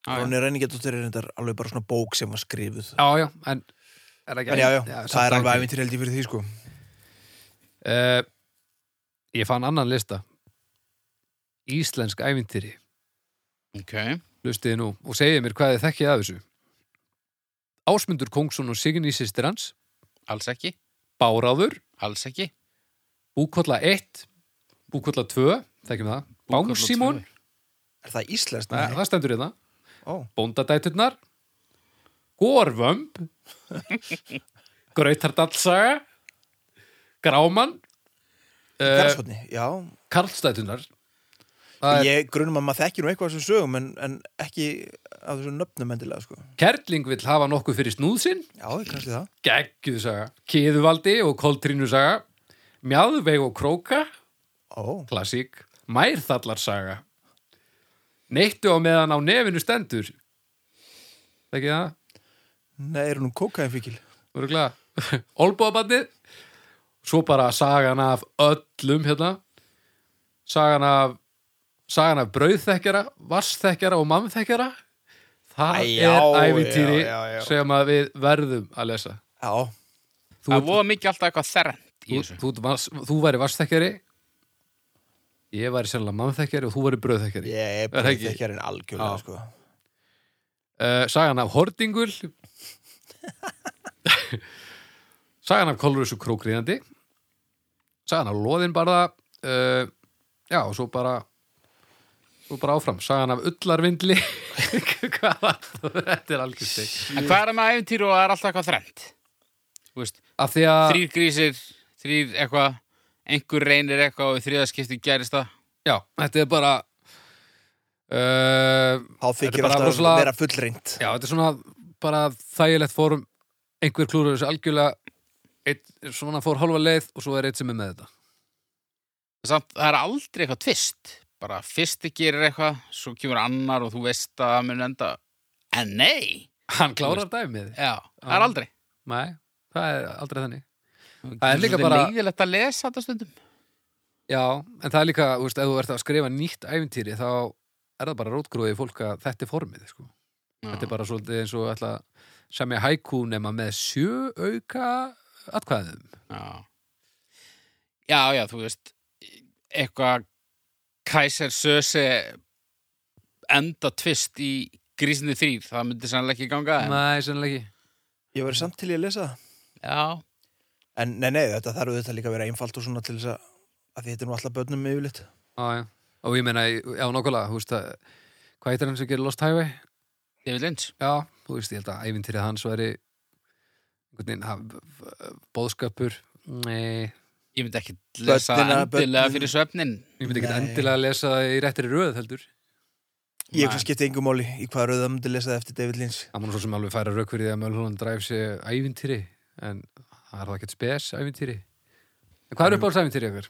Speaker 1: Stífilega.
Speaker 3: Rónir Ræningardóttir er reyndar alveg bara svona bók sem var skrifuð
Speaker 2: Já, já, en er það ekki
Speaker 3: En já, já,
Speaker 2: samt
Speaker 3: það er alveg
Speaker 2: ævintýri.
Speaker 3: ævintir heldig fyrir því sko
Speaker 2: Eh, Ég fann annan lista Íslensk ævintýri
Speaker 1: Ok.
Speaker 2: Lustiði nú og segið mér hvað þið þekkið af þessu Ásmundur Kóngsson og Signý sýstir hans
Speaker 1: Alls ekki.
Speaker 2: Báráður
Speaker 1: Alls ekki.
Speaker 2: Búkolla 1, Búkolla 2, þekkjum það,
Speaker 1: Búkolla
Speaker 2: Bangsímon,
Speaker 1: tvö.
Speaker 3: Er það íslenskt?
Speaker 2: Nei, það stendur hérna,
Speaker 3: Ó.
Speaker 2: Bóndadæturnar, Gorvömb, Grautardalsaga, Gráman, uh, Eh,
Speaker 3: Garðshorni, já
Speaker 2: Karlstæturnar, Það er,
Speaker 3: Ég grunum að maður þekkir nú eitthvað af þessum sögum en, en ekki af þessum nöfnum endilega sko.
Speaker 2: Kerling vill hafa nokkuð fyrir snúðsinn
Speaker 3: Já, kannski það
Speaker 2: geggjuð saga Kiðuvaldi og Koltrínu saga Mjáðveig og Króka
Speaker 3: Ó,
Speaker 2: klassík Mærþallar saga Neittu á meðan á nefinu stendur Það ekki það?
Speaker 3: nei, er hún um kókaðinfíkil?
Speaker 2: Örgulega Olbóðabandið Svo bara sagan af öllum hérna Sagan af Sagan af brauðþekkjara Vassþekkjara og mannþekkjara Það
Speaker 3: Æ, já,
Speaker 2: er ævintýri
Speaker 3: já, já, já.
Speaker 2: sem að við verðum að lesa
Speaker 3: Já,
Speaker 2: Þú
Speaker 1: Það
Speaker 2: ert-
Speaker 1: voða mikið alltaf eitthvað þerrend í
Speaker 2: þú,
Speaker 1: þessu.
Speaker 2: þú, vas, þú væri vassþekkjari ég væri sennilega mannþekkjari og þú væri bröðþekkjari
Speaker 3: ég er
Speaker 2: Er það ekki?
Speaker 3: breyðþekkjarinn algjörlega
Speaker 2: Já.
Speaker 3: sko.
Speaker 2: uh, sagan af Hordingul sagan af Kolrúsu krókriðandi sagan af Lóðinbarða uh, já og svo bara svo bara áfram sagan af Ullarvindli hvað var það? þetta er algjörst steik.
Speaker 1: En hvað er það með æfintýru og það er alltaf eitthvað þrennt? Þú veist,
Speaker 2: af því að
Speaker 1: þrýr grísir, þrýr eitthvað, einhver reynir eitthvað og í þriðaskipti gerist það.
Speaker 2: já, þetta er bara uh,
Speaker 3: Þá
Speaker 2: Þetta er
Speaker 3: þykir
Speaker 2: bara
Speaker 3: alltaf
Speaker 2: rosalega-
Speaker 3: vera fullreint
Speaker 2: Já, þetta er svona bara þægilegt fórum einhver klúður þessu algjörlega eitt, svona fór hálfa leið og svo er eitt sem er með þetta
Speaker 1: Samt, það er aldrei eitthvað tvist. Bara fyrsti gerir eitthvað, svo kemur annar og þú veist að það mun enda. En nei!
Speaker 2: Hann klárar dæmið
Speaker 1: Já, það
Speaker 2: Ah.
Speaker 1: er aldrei.
Speaker 2: Nei, það er aldrei þannig Það er líka bara-
Speaker 1: leiðilegt að lesa þetta stundum.
Speaker 2: Já, en það er líka, þú veist, ef þú ert að skrifa nýtt æfintýri þá er það bara rótgróðið fólk að þetta er formið sko. Þetta
Speaker 1: Ah.
Speaker 2: er bara svolítið eins og ætla að semja hækú nema með sjö auka atkvæðum
Speaker 1: Já, já, já þú veist eitthvað Kaiser Söse enda tvist í grísinni þrýr, það myndi sannlega ekki ganga en,
Speaker 2: Nei, sennilega ekki
Speaker 3: Ég verið samt til ég að lesa það
Speaker 1: Já,
Speaker 3: En nei, nei, þetta þarf auðvitað líka að vera einfalt og svona til þess að, að því þetta er nú alltaf börnum yfirleitt
Speaker 2: Já, já. Og ég meina, já, nokkulega, þú veist að hvað heitir hann sem gerir Lost Highway?
Speaker 1: David Lynch
Speaker 2: Já, þú veist, ég held að ævintýrið hans væri einhvern veginn ha- bóðskapur Nei,
Speaker 1: ég myndi ekki lesa
Speaker 3: Börnina-
Speaker 1: endilega
Speaker 3: börnin-
Speaker 1: fyrir svefnin
Speaker 2: ég myndi ekki
Speaker 3: Nei.
Speaker 2: endilega að lesa það í réttri röð heldur
Speaker 1: Nei.
Speaker 3: Ég ekki skipti engum máli í hvað rauða myndi lesa það eftir David Lynch
Speaker 2: Það múnum svo sem alveg færa rauk fyrir því að Mölhólan dræf sér ævintýri en það er það ekkert spes ævintýri En hvað er upp á þessu ævintýri ykkur?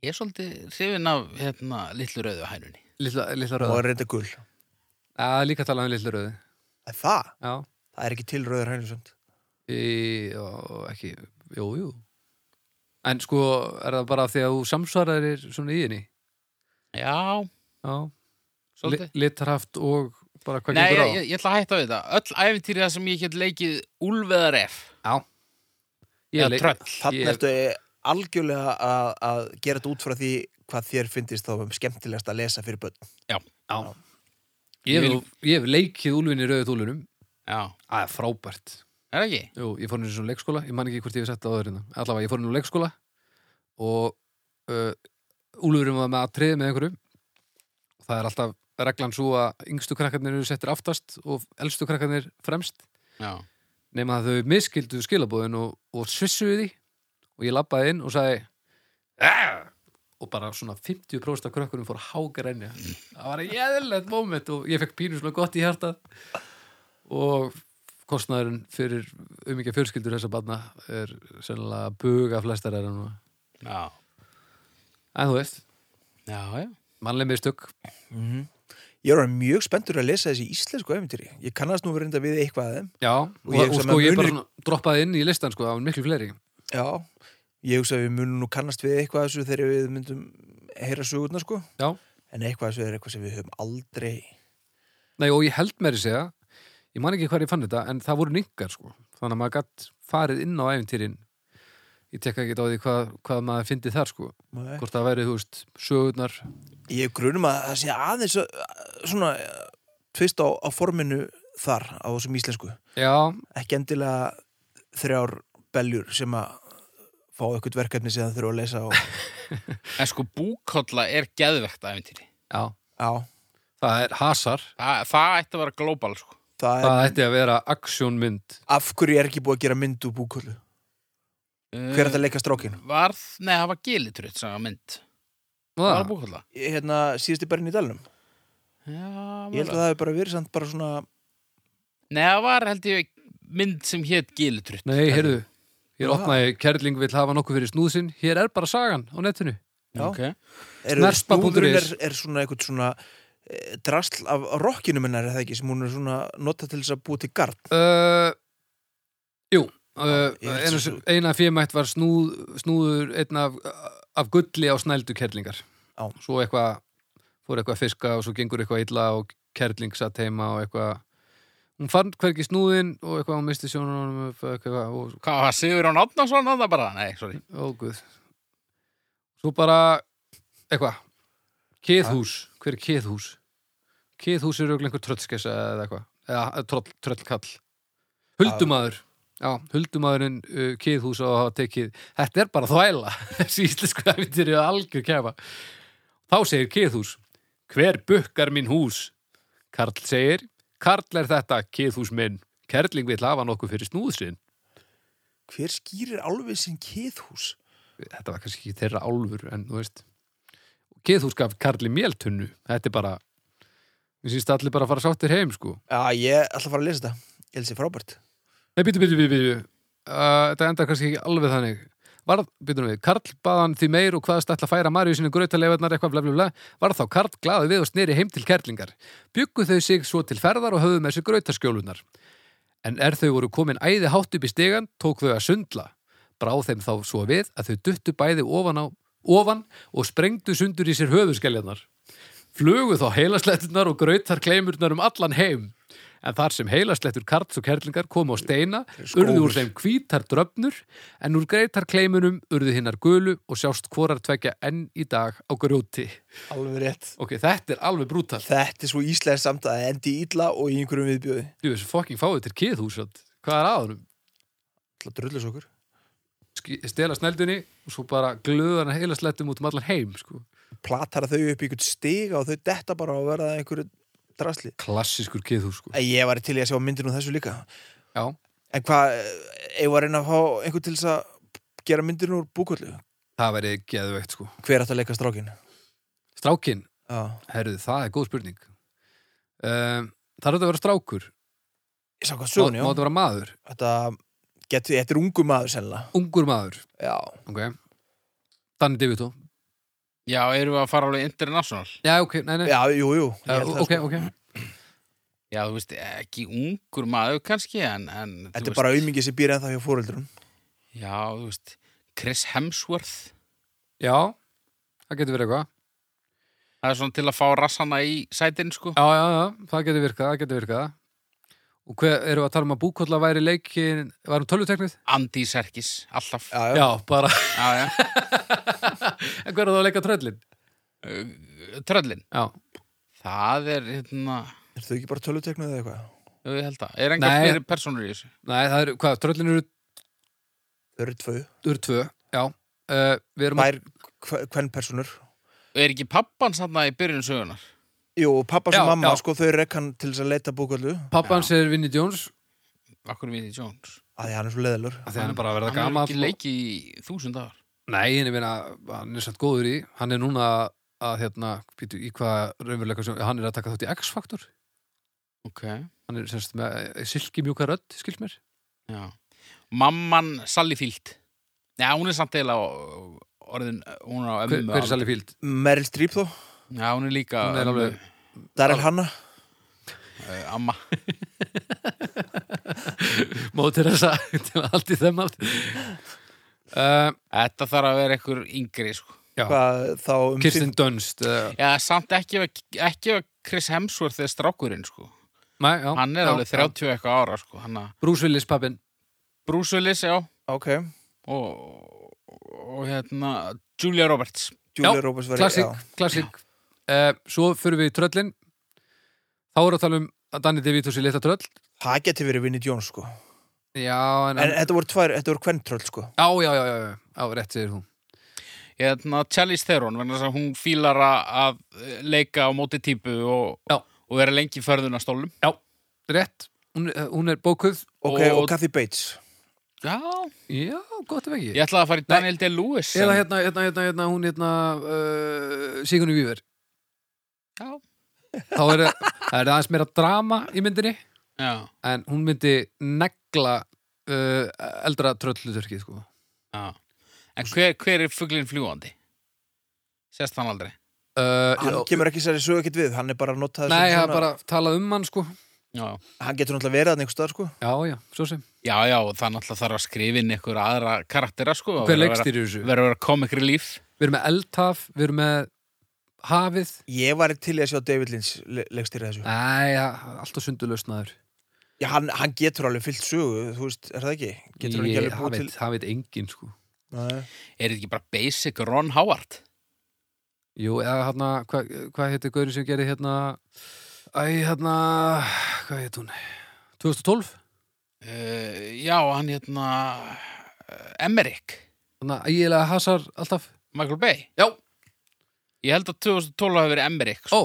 Speaker 1: Ég er svolítið hrifin af hérna litlu rauðu hænunni
Speaker 2: Lilla, lilla
Speaker 3: og
Speaker 2: röða?
Speaker 3: er reynda gul
Speaker 2: Já, líka talað um lilla röðu
Speaker 3: En það,
Speaker 2: Já,
Speaker 3: það er ekki til rauðar hænusönd
Speaker 2: í, og ekki, jú, jú En sko, er það bara af því að þú samsvaraðir svona í henni?
Speaker 1: Já,
Speaker 2: Já,
Speaker 1: svolítið
Speaker 2: Li- litarhaft og bara hvað
Speaker 1: Nei,
Speaker 2: gengur á?
Speaker 1: ég, ég, ég ætla að hætta við það Öll æfintýrið sem ég get leikið Úlveðar F
Speaker 2: Ég
Speaker 1: eða
Speaker 2: leik-
Speaker 1: tröll
Speaker 3: Þannig
Speaker 2: Ég-
Speaker 3: ég... ertu algjörlega að, að gera þetta út frá því hvað þér finnist þá um skemmtilegast að lesa fyrir börn
Speaker 2: Já. Ég
Speaker 1: Ég
Speaker 2: hef, ég hef leikið úlfinni rauðu túlunum.
Speaker 1: Já,
Speaker 2: Það er frábært.
Speaker 1: er það ekki?
Speaker 2: Jú, ég fór henni svona leikskóla, ég man ekki hvort ég hef sett það áður hérna. Allavega, ég fór henni leikskóla og uh, úlfurum var með að treða með einhverjum. Það er alltaf reglan svo að yngstu krakkarnir eru settir aftast og elstu krakkarnir fremst.
Speaker 1: Já,
Speaker 2: nema að þau miskildu skilabóðin og, og svissuðu því og ég labbaði inn og sagði "Ah!" og bara svona 50% af krökkunum fór hágrenja það var jæðilegt moment og ég fekk pínu svona gott í hjartað og kostnaðurinn fyrir umingja fjölskyldur þessa barna er sennilega að buga flestar er en
Speaker 1: já,
Speaker 2: þú veist,
Speaker 1: já, já.
Speaker 2: mannlega mistök
Speaker 3: Ég er orðinn mjög spenntur að lesa þessi íslensku æfintýri Ég kannast nú reynda við eitthvað að þeim
Speaker 2: já, og,
Speaker 3: Og ég
Speaker 2: og
Speaker 3: hugsa
Speaker 2: sko
Speaker 3: með
Speaker 2: ég bara
Speaker 3: munir-
Speaker 2: svona droppaði inn í listan sko, það var miklu fleiri
Speaker 3: Já, ég hugsa að við munum nú kannast við eitthvað af þessu þegar við myndum heyra sögurnar sko
Speaker 2: já,
Speaker 3: en eitthvað af þessu er eitthvað sem við höfum aldrei
Speaker 2: Nei og ég held meiri segja ég man ekki hvar ég fann þetta en það voru ninkar sko þannig að maður gætt farið inn á æfintýrin ég tekka ekki á því hvað, hvað maður fyndi þar sko
Speaker 3: Nei.
Speaker 2: hvort það væri þú veist sögurnar
Speaker 3: Ég grunum að það sé aðeins að- svona eh, tvist á, á forminu þar á þessum íslensku
Speaker 2: já,
Speaker 3: ekki endilega þrjár beljur sem að fá eitthvað verkefni sem það þurfa að lesa og,
Speaker 1: En sko búkolla er geðvegt æfintýri
Speaker 2: já,
Speaker 3: Já,
Speaker 2: það er hasar
Speaker 1: Þa, það ætti að vera glóbal sko.
Speaker 3: það er
Speaker 2: það ætti að vera aksjónmynd
Speaker 3: af hverju er ekki búið að gera mynd úr búkullu
Speaker 1: Eh,
Speaker 3: hver er þetta að leika strókinu?
Speaker 1: Varð, nei, það var gilitrut sem var mynd var
Speaker 2: Nú
Speaker 3: Ah.
Speaker 2: það.
Speaker 1: að búkvölda
Speaker 3: hérna, síðasti bærinn í dalnum
Speaker 1: Já,
Speaker 3: ég held að það hefur bara verið samt bara svona
Speaker 1: Nei, það var held ég mynd sem hétt Gilutrutt
Speaker 2: Nei, heyrðu, hér
Speaker 3: Já.
Speaker 2: opnaði Kerling vill hafa nokkuð fyrir snúðsinn Hér er bara sagan á netinu
Speaker 3: já.
Speaker 1: okay.
Speaker 3: er,
Speaker 2: Snerpa.is.
Speaker 3: snúðurinn er, er svona eitthvað svona eh, drasl af rokkinu minnar er það ekki sem hún er svona nota til þess að búa til garn
Speaker 2: uh, Jú, uh,
Speaker 3: Ég held
Speaker 2: eina,
Speaker 3: svo-
Speaker 2: eina fjömætt var snúð, snúður einn af, af gulli á snældu Kerlingar
Speaker 3: Já.
Speaker 2: Svo eitthvað, fór eitthvað að fiska og svo gengur eitthvað illa og Kerling satt heima og eitthvað Hún fann hvergi snúðinn og eitthvað hún misti sjónunum eitthvað, og
Speaker 1: Hvað var Sigur á Náttnason að það bara? Nei, sorry
Speaker 2: Ó, guð Svo bara, eitthvað Keðhús, hver er keðhús? Keðhús er auðvitað einhver tröllskessa eða eitthvað, eða tröll, tröllkall Huldumaður Já, huldumaðurinn uh, keðhús á að hafa tekið Þetta er bara þvæla þessi íslensku æfintir er algjör kefa Þá segir keðhús Hver bukkar mín hús? Karl segir Karl er þetta keðhús minn Kerling vill hafa nokkuð fyrir snúðsinn
Speaker 3: hver skýrir alveg sinn keðhús
Speaker 2: þetta var kannski ekki þeirra álfur en þú veist Geðhús gaf Karli Mjeltunnu þetta er bara mér sínst allir bara að fara sáttir heim sko
Speaker 3: já, ég ætla að fara að lesa þetta ég held sér frábært
Speaker 2: Nei, býtu, býtu, býtu, býtu uh, Þetta endar kannski ekki alveg þannig Varð, býtum við, Karl baðan því meir og hvaðast ætla að færa Maríu sinni grautalefarnar eitthvað bla bla bla Varð þá Karl glaði við og sneri heim til kerlingar Bjuggu þau sig svo til ferðar og höfðu með sér grautaskjólunar En er þau voru komin æði hátt upp í stegan tók þau að sundla Bráð þeim þá svo við að þau duttu bæði ofan á ofan og sprengdu sundur í sér höfuðskeljarnar Flugu þá heilaslettunar og grautar kleimurnar um allan heim. En þar sem heilaslettur karts og kerlingar komu á steina,
Speaker 3: Skógur.
Speaker 2: urðu úr þeim hvítar dröfnur, en úr greitar kleimunum urðu hinnar gulu og sjást hvorar tvekja enn í dag á grjóti.
Speaker 3: alveg rétt
Speaker 2: Ok, þetta er alveg brútal.
Speaker 3: þetta er svo íslensk samt að það endi ítla og í einhverjum viðbjöði
Speaker 2: Jú, þessi fokking fáið til kiðhúsand. Hvað er aðanum?
Speaker 3: Það drullis okkur
Speaker 2: Stela sneldunni og svo bara glöðan heilaslettum út um allan heim, sko.
Speaker 3: Platar þau upp í einhvern stiga og þau detta bara og verða einhverju drasli
Speaker 2: Klassískur kiðhús, sko.
Speaker 3: Æ, Ég var til í að sjá myndin úr þessu líka
Speaker 2: Já.
Speaker 3: En hvað, eh, ég var að reyna að fá einhvern til þess að gera myndin úr búkullu
Speaker 2: Það verið geðveikt, sko.
Speaker 3: Hver átt að leika strákin?
Speaker 2: Strákin,
Speaker 3: Já.
Speaker 2: Herðu, það er góð spurning um, Það er þetta að vera strákur
Speaker 3: Ég sá hvað
Speaker 2: Má- Má
Speaker 3: sögun, já
Speaker 2: þetta vera maður,
Speaker 3: Þetta, get, þetta er ungu maður sennilega
Speaker 2: ungur maður
Speaker 3: Já,
Speaker 2: okay. Danny DeVito
Speaker 1: Já, erum við að fara alveg international
Speaker 2: Já, ok, nei, nei
Speaker 3: já, jú, jú
Speaker 2: uh,
Speaker 3: ég held það,
Speaker 2: Ok,
Speaker 3: sko.
Speaker 2: ok
Speaker 1: Já, þú veist, ekki ungur maður kannski en, en þú
Speaker 3: Þetta er
Speaker 1: veist,
Speaker 3: bara aumingi sem býr ennþá hjá fóreldrum
Speaker 1: Já, þú veist, Chris Hemsworth
Speaker 2: Já, það getur verið eitthvað
Speaker 1: Það er svona til að fá rassana í sætin, sko
Speaker 2: Já, já, já, það getur virkað, það getur virkað Og hver, erum við að tala um að búkolla væri leikin Var hún tölvuteknið?
Speaker 1: Andy Serkis, alltaf
Speaker 3: Já, já,
Speaker 2: Já, bara
Speaker 1: Já, já.
Speaker 2: En hver er það að leika tröllin?
Speaker 1: Tröllin,
Speaker 2: Já,
Speaker 1: það er hérna,
Speaker 3: er þau ekki bara töluteknuð eða eitthvað?
Speaker 1: jú, ég held að Er engar
Speaker 2: Nei.
Speaker 1: fleiri personur í þessu?
Speaker 2: nei, það eru, hvað, tröllin eru,
Speaker 3: Þau eru tvö,
Speaker 2: eru tvö Já, uh, við erum
Speaker 3: bær hvern personur
Speaker 1: Er ekki pappan sann í byrjun sögunar?
Speaker 3: Jú, pappa sem
Speaker 2: Já,
Speaker 3: mamma,
Speaker 2: já.
Speaker 3: sko, þau rekkan til þess að leita búkullu
Speaker 2: að Pappa hans er Vinnie Jones
Speaker 1: Akkur við í Jones
Speaker 3: að því hann er svo leðalur
Speaker 2: af Því hann er bara að verða
Speaker 1: Hann er
Speaker 2: gamall
Speaker 1: ekki
Speaker 2: og-
Speaker 1: leiki í þúsund dagar
Speaker 2: Nei, en ég meina, hann er satt góður í hann er núna að hérna býtu, í hvað raunveruleika sem, hann er að taka þátt í X-faktor,
Speaker 1: Ok,
Speaker 2: hann er semst með eh, silki mjúka rödd, skilst mér
Speaker 1: já Mamman Sally Field Já, hún er samt eila orðin, hún er á
Speaker 2: hver,
Speaker 1: ömmu
Speaker 2: hver er
Speaker 1: alveg.
Speaker 2: Sally Field?
Speaker 3: Meryl Streep þó,
Speaker 1: Já, hún er líka
Speaker 2: Hún er
Speaker 1: ömmu,
Speaker 2: alveg-
Speaker 3: Daryl Hanna
Speaker 1: eh, amma
Speaker 2: Móð Teresa til að haldi þeim allt uh,
Speaker 1: Þetta þarf að vera einhver yngri, sko
Speaker 3: hvað þá um
Speaker 2: Kirsten Dunst uh,
Speaker 1: Já, samt ekki ef, ekki ef Chris Hemsworth er strákurinn, sko
Speaker 2: nei, já,
Speaker 1: Hann er
Speaker 2: já,
Speaker 1: alveg 30 eitthvað ára, sko Hann að
Speaker 2: já. Bruce Willis pappin
Speaker 1: Bruce Willis, já
Speaker 3: Ok,
Speaker 1: og, og hérna Julia Roberts
Speaker 3: Julia
Speaker 2: Já,
Speaker 3: Roberts var
Speaker 2: klassik, klassik uh, svo fyrir við í tröllin þá er að tala um að Danny DeVito sé litla tröll
Speaker 3: Það geti verið Vinnie Jones sko En
Speaker 2: já, en,
Speaker 3: þetta voru tvær, þetta voru kventröll sko
Speaker 2: já, já, já, já, já, já, rétt segir hún
Speaker 1: hérna Charlize Theron vegna þess að hún fílar að- að leika á móti típu og,
Speaker 2: Já.
Speaker 1: og vera lengi í förðunastólum
Speaker 2: rétt, hún, eh, hún er bókuð
Speaker 3: Ok, og,
Speaker 1: Og-
Speaker 3: Kathy Bates
Speaker 1: Já,
Speaker 2: Já, gott ef ekki
Speaker 1: ég ætlaði að fara í Daniel Day-Lewis
Speaker 2: Eða
Speaker 1: en-
Speaker 2: hérna, hérna, hérna, hérna, hún hérna uh, Sigunni Víver hérna-
Speaker 1: Já.
Speaker 2: Þá er það er aðeins meira drama í myndinni
Speaker 1: Já,
Speaker 2: En hún myndi negla uh, eldra tröllutörkið sko.
Speaker 1: já En hver, hver er fuglinn fljúandi? Sérst hann aldrei
Speaker 2: uh,
Speaker 3: hann
Speaker 2: já,
Speaker 3: kemur ekki særi sögu ekkert við hann er bara að nota
Speaker 2: Nei, það
Speaker 3: sem
Speaker 2: er bara talað um hann sko.
Speaker 1: Já,
Speaker 3: hann getur náttúrulega verið hann einhver staðar sko
Speaker 2: Já, já, svo sem
Speaker 1: já, já og það náttúrulega þarf að skrifa inn ykkur aðra karaktera sko og verður
Speaker 2: Hver
Speaker 1: að vera-
Speaker 2: leikstýrir þessu?
Speaker 1: Verður að vera komikri líf
Speaker 2: Við erum með eldhaf, við erum með hafið
Speaker 3: ég var til í að sjá David Lynch le leikstýra þessu
Speaker 2: Nei, ja, alltaf sundulausnaður
Speaker 3: já, hann, hann getur alveg fyllt sögu þú veist, er það ekki? getur hann ekki alveg
Speaker 2: Það
Speaker 3: búið
Speaker 2: veit- það veit enginn sko.
Speaker 3: til Nei.
Speaker 1: Er þetta ekki bara basic Ron Howard?
Speaker 2: Jú, eða hérna, hvað hva heitir Gauri sem gerir hérna Æ, hérna, hvað heit hún? 2012?
Speaker 1: Uh, já, hann hérna uh, Emmerich,
Speaker 2: Þannig að Hérna, ægilega hasar alltaf
Speaker 1: Michael Bay
Speaker 2: Já
Speaker 1: Ég held að 2012 hafi verið Emmerich sko.
Speaker 2: Ó,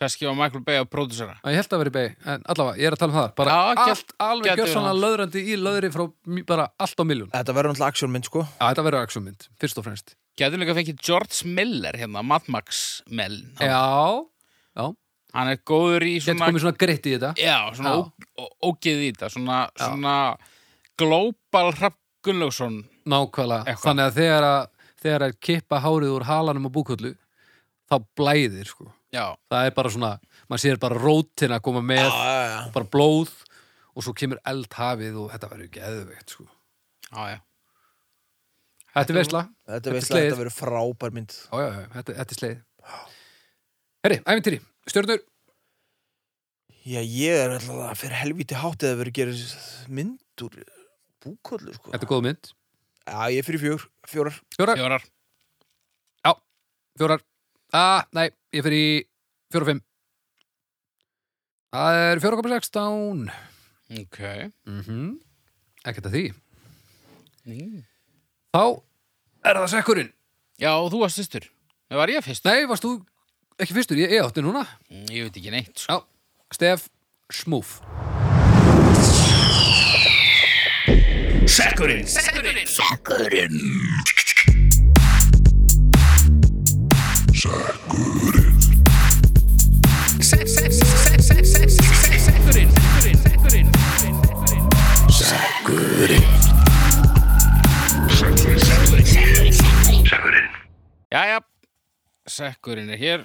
Speaker 1: Kannski var Michael Bay á pródúsera
Speaker 2: að ég held að vera í beig En allavega, ég er að tala um það Bara
Speaker 1: Já, gæt-
Speaker 2: allt, alveg
Speaker 1: gæti verið
Speaker 2: gjörsanna
Speaker 1: hans.
Speaker 2: löðrandi í löðri frá mi- bara allt á miljón
Speaker 3: þetta verður náttúrulega aksjónmynd sko
Speaker 2: Já, þetta verður aksjómynd, fyrst og fremst
Speaker 1: Gætum líka fengið George Miller hérna, Mad Max Mel hann,
Speaker 2: Já, já,
Speaker 1: hann er góður í
Speaker 2: getur
Speaker 1: svona,
Speaker 2: komið svona greitt í þetta
Speaker 1: já, svona
Speaker 2: Já.
Speaker 1: ó- ó- ógeð í þetta svona,
Speaker 2: Já.
Speaker 1: svona global Hrafn Gunnlaugsson
Speaker 2: Nákvæmlega,
Speaker 1: Eitthvað.
Speaker 2: þannig að þegar að þegar að kippa hárið úr halanum og búkullu þá blæðir sko
Speaker 1: já,
Speaker 2: það er bara svona, maður sér bara rótin að koma með,
Speaker 3: já, já.
Speaker 2: bara blóð og svo kemur eldhafið og þetta verður geðveikt sko.
Speaker 1: já, já.
Speaker 2: Þetta er veisla
Speaker 3: þetta veist að
Speaker 2: slegið.
Speaker 3: þetta verður frábær mynd
Speaker 2: Já, já, já, þetta, þetta er sleið Herri, æfintýri, stjörnur
Speaker 3: já, ég er alltaf fyrir helvíti hátt eða verður gerð mynd úr búkollu sko
Speaker 2: Þetta er góð mynd,
Speaker 3: já, ég er fyrir fjór, fjórar
Speaker 2: fjórar,
Speaker 1: fjórar
Speaker 2: fjórar ah, Nei, ég fyrir í fjóra og fimm Það er 4,16
Speaker 1: ok
Speaker 2: mm -hmm. Ekkert að því
Speaker 1: Mm.
Speaker 2: Þá er það sekkurinn
Speaker 1: já, og þú varst fyrstur það var ég fyrstur,
Speaker 2: Nei, varst þú ekki fyrstur? Ég, ég átti núna
Speaker 1: Mm, ég veit ekki neitt sko.
Speaker 2: Já, Stef Smúf
Speaker 1: já, já, sekkurinn er hér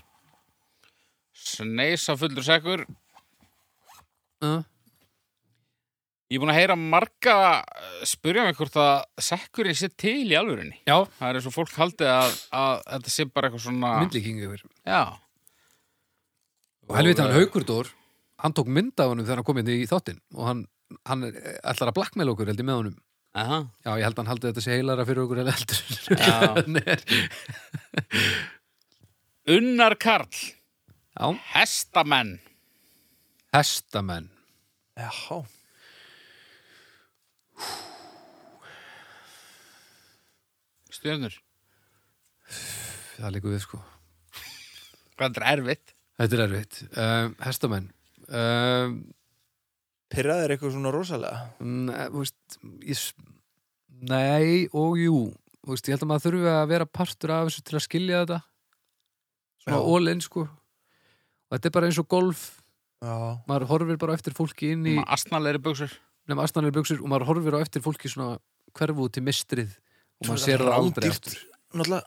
Speaker 1: sneisa fullur sekkur
Speaker 2: uh,
Speaker 1: Ég er búin að heyra marga eh, spyrja mig hvort að sekkurinn sé til í alvörinni.
Speaker 2: Já,
Speaker 1: Það er eins og fólk haldið að, að þetta sé bara eitthvað svona...
Speaker 2: myndlíking yfir
Speaker 1: Já.
Speaker 2: Og helviti hann
Speaker 1: eh,
Speaker 2: Haukurdór Hann tók mynd af honum þegar hann kom hérna í þáttinn Og hann, hann eh, ætlar að blackmail okkur held ég með honum
Speaker 1: Aha.
Speaker 2: Já, ég held að hann haldi þetta sé heilara fyrir okkur en eldur
Speaker 1: Já.
Speaker 2: Hann er-
Speaker 1: Unnar Karl,
Speaker 2: Já,
Speaker 1: hestamenn.
Speaker 2: hestamenn
Speaker 3: já,
Speaker 1: Stjörnur.
Speaker 2: Það líku við sko
Speaker 1: Hvað er erfitt?
Speaker 2: Þetta er erfitt um, Hestamenn um,
Speaker 3: pyrraður eitthvað svona rosalega
Speaker 2: Nei, eh, þú veist, ég, s- nei og jú Þú veist, ég held að maður þurfi að vera partur af þessu til að skilja þetta svona
Speaker 3: Já.
Speaker 2: all-in sko og þetta er bara eins og golf
Speaker 3: já,
Speaker 2: maður horfir bara á eftir fólki inn í
Speaker 1: Í... Asnalegri buksur.
Speaker 2: nema astanlega buksur og maður horfir á eftir fólki svona hverfu út í mistrið og maður
Speaker 3: Svona
Speaker 2: sér það aldrei
Speaker 3: rándýrt.
Speaker 2: aftur
Speaker 3: náttúrulega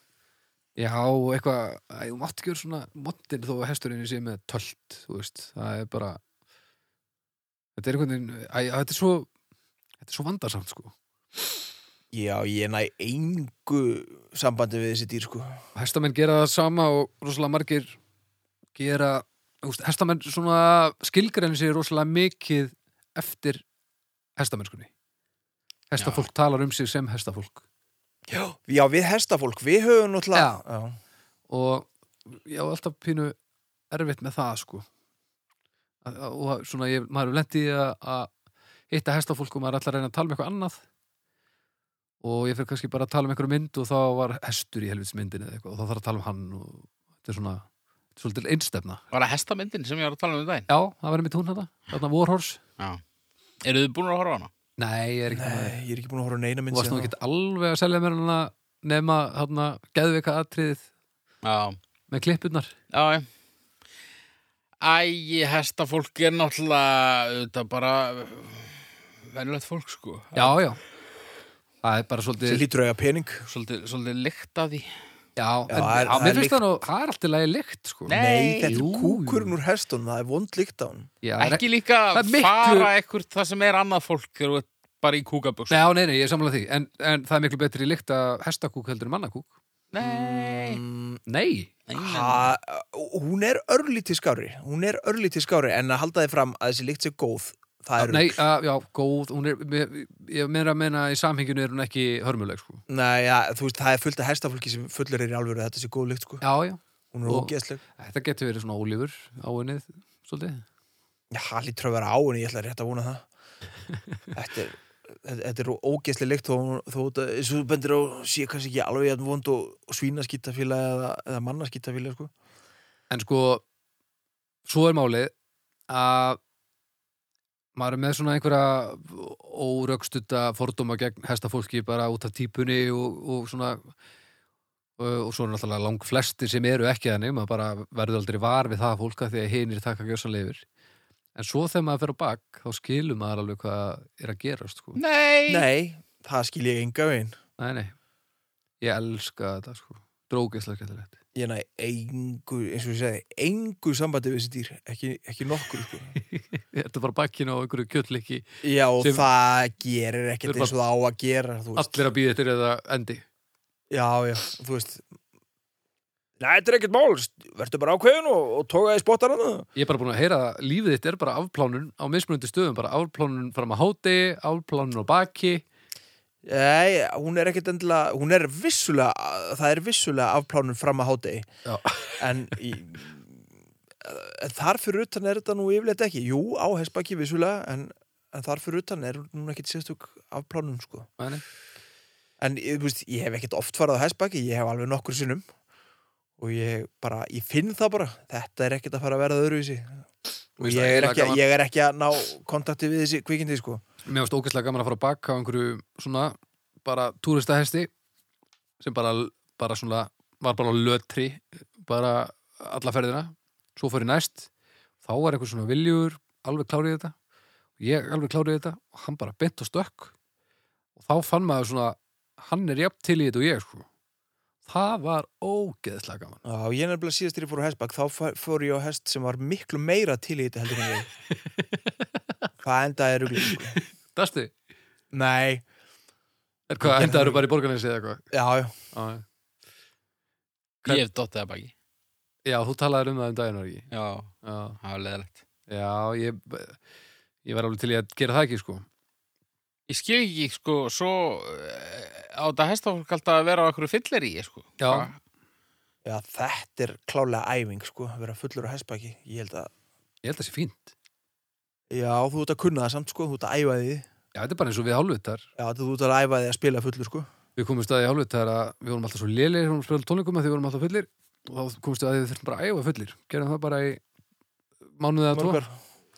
Speaker 2: Já, og eitthvað, æ, þú mátt ekki vera svona montin þó að hesturinn sé með tölt, þú veist, það er bara þetta er einhvern veginn æ, þetta er svo, þetta er svo vandarsamt sko
Speaker 3: Já, ég næ engu sambandi við þessi dýr, sko.
Speaker 2: hestamenn gera það sama og rosalega margir gera úst, hestamenn svona skilgrein sér rosalega mikið eftir hestamennskunni hestafólk talar um sig sem hestafólk
Speaker 3: Já. Já, við hestafólk, við höfum náttúrulega... Já.
Speaker 2: og ég á alltaf pínu erfitt með það sko Að- að- og svona ég, maður er lendið að, að hitta hestafólk og maður er alltaf að reyna að tala um eitthvað annað og ég fyrir kannski bara að tala um einhverju mynd og þá var hestur í helvitsmyndin eða eitthvað og þá þarf að tala um hann og þetta er svona þetta er svolítil einstefna
Speaker 1: Var það hestamyndin sem ég var að tala um í daginn?
Speaker 2: Já, það var einmitt hún þetta, þarna Warhorse
Speaker 1: Já. Eru þið búin að horfa á hana?
Speaker 2: Nei, ég er ekki búin að-
Speaker 3: Nei, ég er ekki búin að horfa á neina
Speaker 2: Þú
Speaker 3: mynd
Speaker 2: varst nú
Speaker 3: síðan
Speaker 2: ekki alveg að selja mér hana nema hana geðveika atriðið
Speaker 1: Já,
Speaker 2: með klippurnar
Speaker 1: já, já. Æ, hesta fólk er náttúrulega, auðvitað bara, venjulegt fólk, sko.
Speaker 2: Já, já Það er bara
Speaker 3: þá. Sem
Speaker 2: svolítið
Speaker 3: lítur að eiga pening
Speaker 1: Svolítið, svolítið lykt af því.
Speaker 2: Já, en,
Speaker 3: það er-
Speaker 2: já
Speaker 3: það
Speaker 2: mér
Speaker 3: er
Speaker 2: finnst það nú, það er alltaf lægi lykt sko.
Speaker 1: Nei.
Speaker 3: Nei, þetta
Speaker 2: jú,
Speaker 3: er
Speaker 2: jú.
Speaker 3: kúkurinn úr hestunum, það er vond líkt á hann
Speaker 2: já, ekki...
Speaker 1: Ekki líka
Speaker 2: það er miklu-
Speaker 1: fara ekkert það sem er annað fólk, þegar þú ert bara í kúkaböks.
Speaker 2: Nei, já, nei, nei, ég er samlega því en, en það er miklu betri lykt að hestakúk heldur en mannakúk
Speaker 1: Nei.
Speaker 2: Mm, Nei,
Speaker 1: Nei, nei.
Speaker 3: ha, Hún er örlítið skári Hún er örlítið skári en að halda þið fram að þessi líkt sé góð Það er
Speaker 2: nei, að, já, góð hún er, mér- ég meira að meina í samhenginu er hún ekki hörmuleg sko.
Speaker 3: Nei, já, þú veist, það er fullt af hestafólki sem fullur er í alvöru að þetta sé góð lykt, sko.
Speaker 2: Já, já,
Speaker 3: Hún er
Speaker 2: Og-
Speaker 3: ógeðsleg.
Speaker 2: þetta getur verið svona ólífur áunnið, svolítið
Speaker 3: Já, hann lítur að vera á henni, ég ætla rétt að vona það. Þetta er, þetta þetta er ógeðsleg lykt þó, hún- þó þetta, eins og þú bendir á, sé kannski ekki alveg jæðn vond og, og svínaskýttafíla eða, eða mannaskýttafíla, sko.
Speaker 2: En sko, svo er málið að maður er með svona einhverja órökstutta fordóma gegn hestafólki bara út af típunni og, og svona og og svo er náttúrulega lang flesti sem eru ekki þannig, maður bara verður aldrei var við það fólka því að hinir taka gjössanleifir en svo þegar maður fer á bak þá skilur maður alveg hvað er að gerast sko.
Speaker 1: Nei.
Speaker 3: Nei, það skil ég enga veginn.
Speaker 2: nei, nei, ég elska þetta sko, drókislega getur þetta
Speaker 3: Ég næ engu, eins og ég segi, engu sambandi við þessi dýr, ekki, ekki nokkur, sko.
Speaker 2: þetta er bara bakkin á einhverju kjölliki
Speaker 3: Já, og
Speaker 2: Sem-
Speaker 3: það gerir ekkert
Speaker 2: Þurfa-
Speaker 3: eins og það á að gera, þú veist.
Speaker 2: allir að býða eftir eða endi
Speaker 3: Já, já, þú veist Nei, þetta er ekkert mál, verður bara ákveðin og, og tóka í spottar hann
Speaker 2: Ég er bara búin að heyra að lífið þitt er bara afplánun á mismunandi stöðum, bara afplánun fram að hátegi, afplánun á baki
Speaker 3: Nei, hún er ekkert endilega, hún er vissulega það er vissulega afplánun fram að hádegi
Speaker 2: Já.
Speaker 3: en í, en þar fyrir utan er þetta nú yfirleitt ekki, jú, á hessbaki vissulega, en, en þar fyrir utan er núna ekkert sérstök afplánun sko.
Speaker 2: Nei, nei.
Speaker 3: en ég, þú veist, ég hef ekkert oft farið á hessbaki, ég hef alveg nokkur sinnum og ég bara, ég finn það bara þetta er ekkert að fara að verða öðruvísi og
Speaker 2: Mér
Speaker 3: ég
Speaker 2: finnst
Speaker 3: er,
Speaker 2: það
Speaker 3: ekki,
Speaker 2: gaman-
Speaker 3: ég er ekki að ná kontakti við þessi kvikindi sko.
Speaker 2: Mér varst ógæslega gaman að fara á baki á einhverju svona, bara túristahesti sem bara, bara svona, var bara á lötri bara alla ferðina svo fór ég næst, þá var einhver svona viljur, alveg klárið þetta ég alveg klárið þetta og hann bara bent og stökk og þá fann maður svona, hann er jafn til í þetta og ég sko Það var ógeðslega gaman
Speaker 3: Já, ég er nefnilega síðast þegar ég fór á hestbakk þá fa- fór ég á hest sem var miklu meira til í þetta heldur en ég Það endaði er rugli sko.
Speaker 2: Dastu?
Speaker 3: Nei,
Speaker 2: Er hvað,
Speaker 3: Ég gerði
Speaker 2: enda eru
Speaker 3: það.
Speaker 2: bara í borgarnesi eða eitthvað?
Speaker 3: já, já
Speaker 2: Já, já.
Speaker 1: Ég hef dottið að baki.
Speaker 2: Já, þú talaðir um það um daginn, var ekki?
Speaker 1: Já,
Speaker 2: Já,
Speaker 1: það var leðilegt.
Speaker 2: já ég, ég var alveg til í að gera það ekki, sko.
Speaker 1: Ég skil ekki, sko, svo eh, á þetta hestafólk alltaf að vera á einhverju fyllir í, sko.
Speaker 2: Já.
Speaker 1: Hva-
Speaker 3: Já, þetta er klálega æfing sko, að vera fullur á hestbakki Ég held að,
Speaker 2: Ég held að það sé fínt.
Speaker 3: já, þú ert að kunna það samt sko, þú ert að æfa því Já,
Speaker 2: Já, þetta er bara eins og við hálfutar.
Speaker 3: þetta þú ert að æfa því að spila fullur sko
Speaker 2: Við komum staði í hálfutar að við vorum alltaf svo lélir, við vorum að spila tónleikum að því við vorum alltaf fullir og þá komumst við að því við þurfum bara að æfa fullir. Gerðum það bara í mánuðið að tvo.
Speaker 3: Mörgar,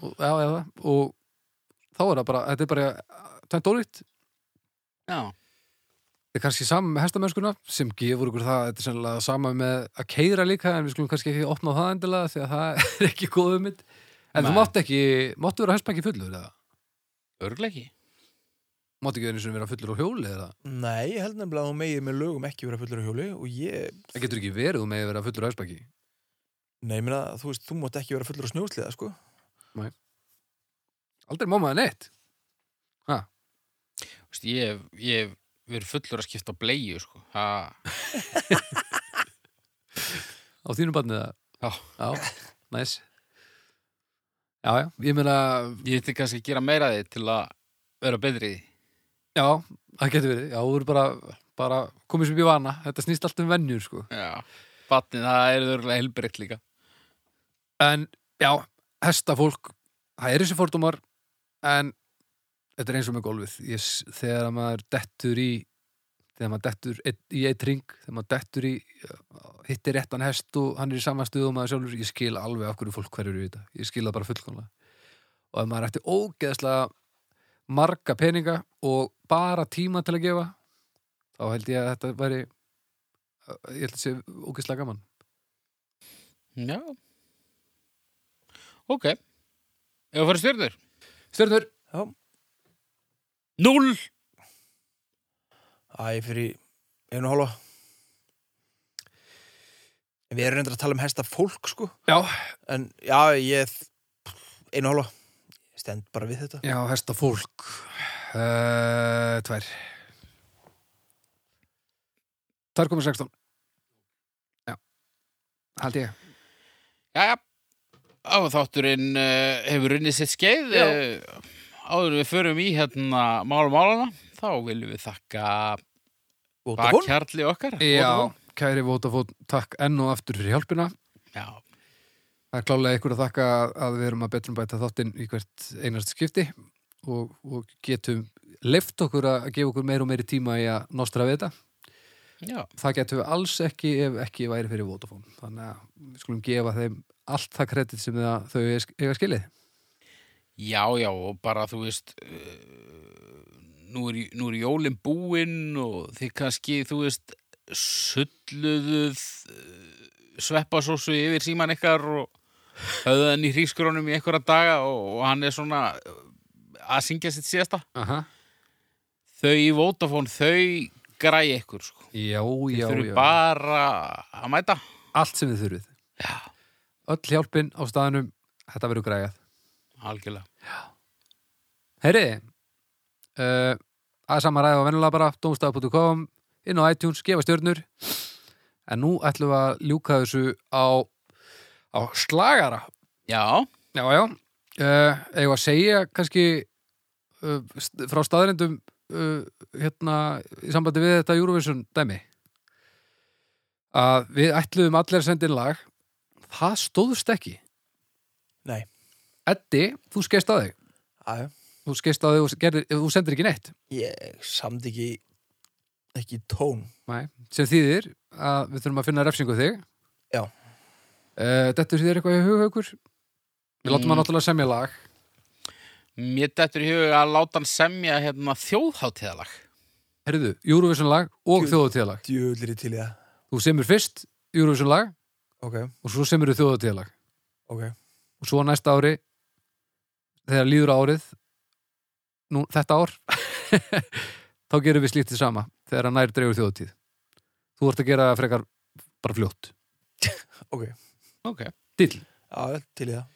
Speaker 2: Og, já, já, það. Og þá er það bara, þetta er bara tæmt ólíkt.
Speaker 1: Já.
Speaker 2: Þetta er kannski saman með hestamennskuna sem gefur ykkur það, þetta er sennilega sama með að keira líka en við skulum kannski ekki opna á það endilega því að það er ekki góðu mynd En þú
Speaker 1: Nei.
Speaker 2: mátt ekki, máttu vera hestbæki fullur eða?
Speaker 1: Örgleiki.
Speaker 2: Máttu ekki einu sinni vera fullur á hjóli eða?
Speaker 3: Nei, ég held nefnilega að þú megið með lögum ekki vera fullur á hjóli og ég,
Speaker 2: Það getur ekki verið þú með vera fullur á hestbæki
Speaker 3: nei, ég meina, þú veist, þú mátt ekki vera fullur á snjósliða sko
Speaker 2: Aldrei má maður neitt
Speaker 1: Vist, ég, hef, ég hef verið fullur að skipta á bleiu, sko. Það...
Speaker 2: á þínu barnið eða?
Speaker 1: Já.
Speaker 2: Já, næs Já, já, ég meina,
Speaker 1: Ég ætti kannski að gera meira af því til að vera betri í því.
Speaker 2: já, það getur verið Já, þú eru bara, bara komið sem ég vana Þetta snýst allt um venjur, sko
Speaker 1: Já. Batnið, það er örgulega helbriðt líka.
Speaker 2: En já, hestafólk, það er þessi fordómar en þetta er eins og með golfið. Ég, s- þegar að maður dettur í þegar maður dettur einn- í eitt ring þegar maður dettur í uh, hittir réttan hest og hann er í saman stuð og maður sjálfur ég skil alveg af hverju fólk hverjur í þetta. Ég skil það bara fullkomlega. Og ef maður ætti ógeðslega marga peninga og bara tíma til að gefa þá held ég að þetta væri eh, ég held að sé ógeðslega gaman
Speaker 1: Já. Ok. Ef að fara stjörnur.
Speaker 2: Stjörnur,
Speaker 3: Já.
Speaker 1: Núll.
Speaker 3: Æ, ég fyrir einu og hálfa En Við erum reyndar að tala um hesta fólk sko
Speaker 2: já,
Speaker 3: En já, ég einu og hálfa Ég stend bara við þetta
Speaker 2: já, hesta fólk uh, tvær 2,16 já, held ég
Speaker 1: Jæja. Áþátturinn uh, hefur runnið sitt skeið.
Speaker 3: Já.
Speaker 1: Uh, áður en við förum í hérna málum málana. Þá viljum við þakka
Speaker 3: Vótafón
Speaker 1: bakhjarli okkar.
Speaker 2: já, kæri Vótafón, takk enn og aftur fyrir hjálpina
Speaker 1: Já.
Speaker 2: Það er klálega ykkur að þakka að við erum að betrum bæta þáttinn í hvert einast skipti og, og getum leift okkur að gefa okkur meir og meiri tíma í að nostra við þetta.
Speaker 1: Já.
Speaker 2: Það getum við alls ekki ef ekki væri fyrir Vodafone. Þannig að við skulum gefa þeim allt það kredit sem það, þau eiga skilið.
Speaker 1: Já, já, og bara þú veist, uh, nú, er, nú er jólin búinn og þið kannski, þú veist, sulluðuð uh, sveppasósu yfir síman ykkar og höfðu hann í hrískrónum í einhverja daga og, og hann er svona uh, að syngja sitt síðasta.
Speaker 2: Aha.
Speaker 1: Þau í Vodafone, þau græi ykkur, sko.
Speaker 2: Já,
Speaker 1: Þau
Speaker 2: já,
Speaker 1: þurfum
Speaker 2: já.
Speaker 1: bara að mæta.
Speaker 2: Allt sem þið þurfið.
Speaker 1: Já,
Speaker 2: Öll hjálpin á staðanum, þetta verður græjað.
Speaker 1: algjörlega.
Speaker 2: Herri, uh, að sama ræða og venjulega bara domstaf.com, inn á iTunes, gefa stjörnur en nú ætlum við að ljúka þessu á, á slagara
Speaker 1: Já,
Speaker 2: Já, já, uh, eigum við að segja kannski uh, st- frá staðrendum uh, hérna í sambandi við þetta Eurovision dæmi að við ætluðum allir að senda inn lag það stóðust ekki
Speaker 3: Nei,
Speaker 2: Eddi, þú skeist á þig
Speaker 3: aðja
Speaker 2: þú skeist á þig og gerðir, þú sendir ekki neitt
Speaker 3: Ég samt ekki ekki tón
Speaker 2: Nei, sem þýðir að við þurfum að finna refsingu þig
Speaker 3: Já.
Speaker 2: Eh, Dettur þér eitthvað í hugaukur? Við látum
Speaker 1: Mm.
Speaker 2: hann náttúrulega semja lag
Speaker 1: mér dettur í huga að láta hann semja hérna þjóðháttíðalag.
Speaker 2: Herðu, Eurovision lag og
Speaker 3: Djú-
Speaker 2: þjóðatíðalag
Speaker 3: Djöðlir í til í það
Speaker 2: Þú semur fyrst Eurovision lag
Speaker 3: Ok,
Speaker 2: og svo semur þú þjóðatíðalag
Speaker 3: ok
Speaker 2: og svo næsta ári þegar líður á árið nú, þetta ár þá gerum við slíkt því sama þegar hann nær dreigur þjóðatíð Þú ert að gera það frekar bara fljótt
Speaker 3: Ok,
Speaker 1: Ok.
Speaker 2: Dill
Speaker 3: aðja, til í það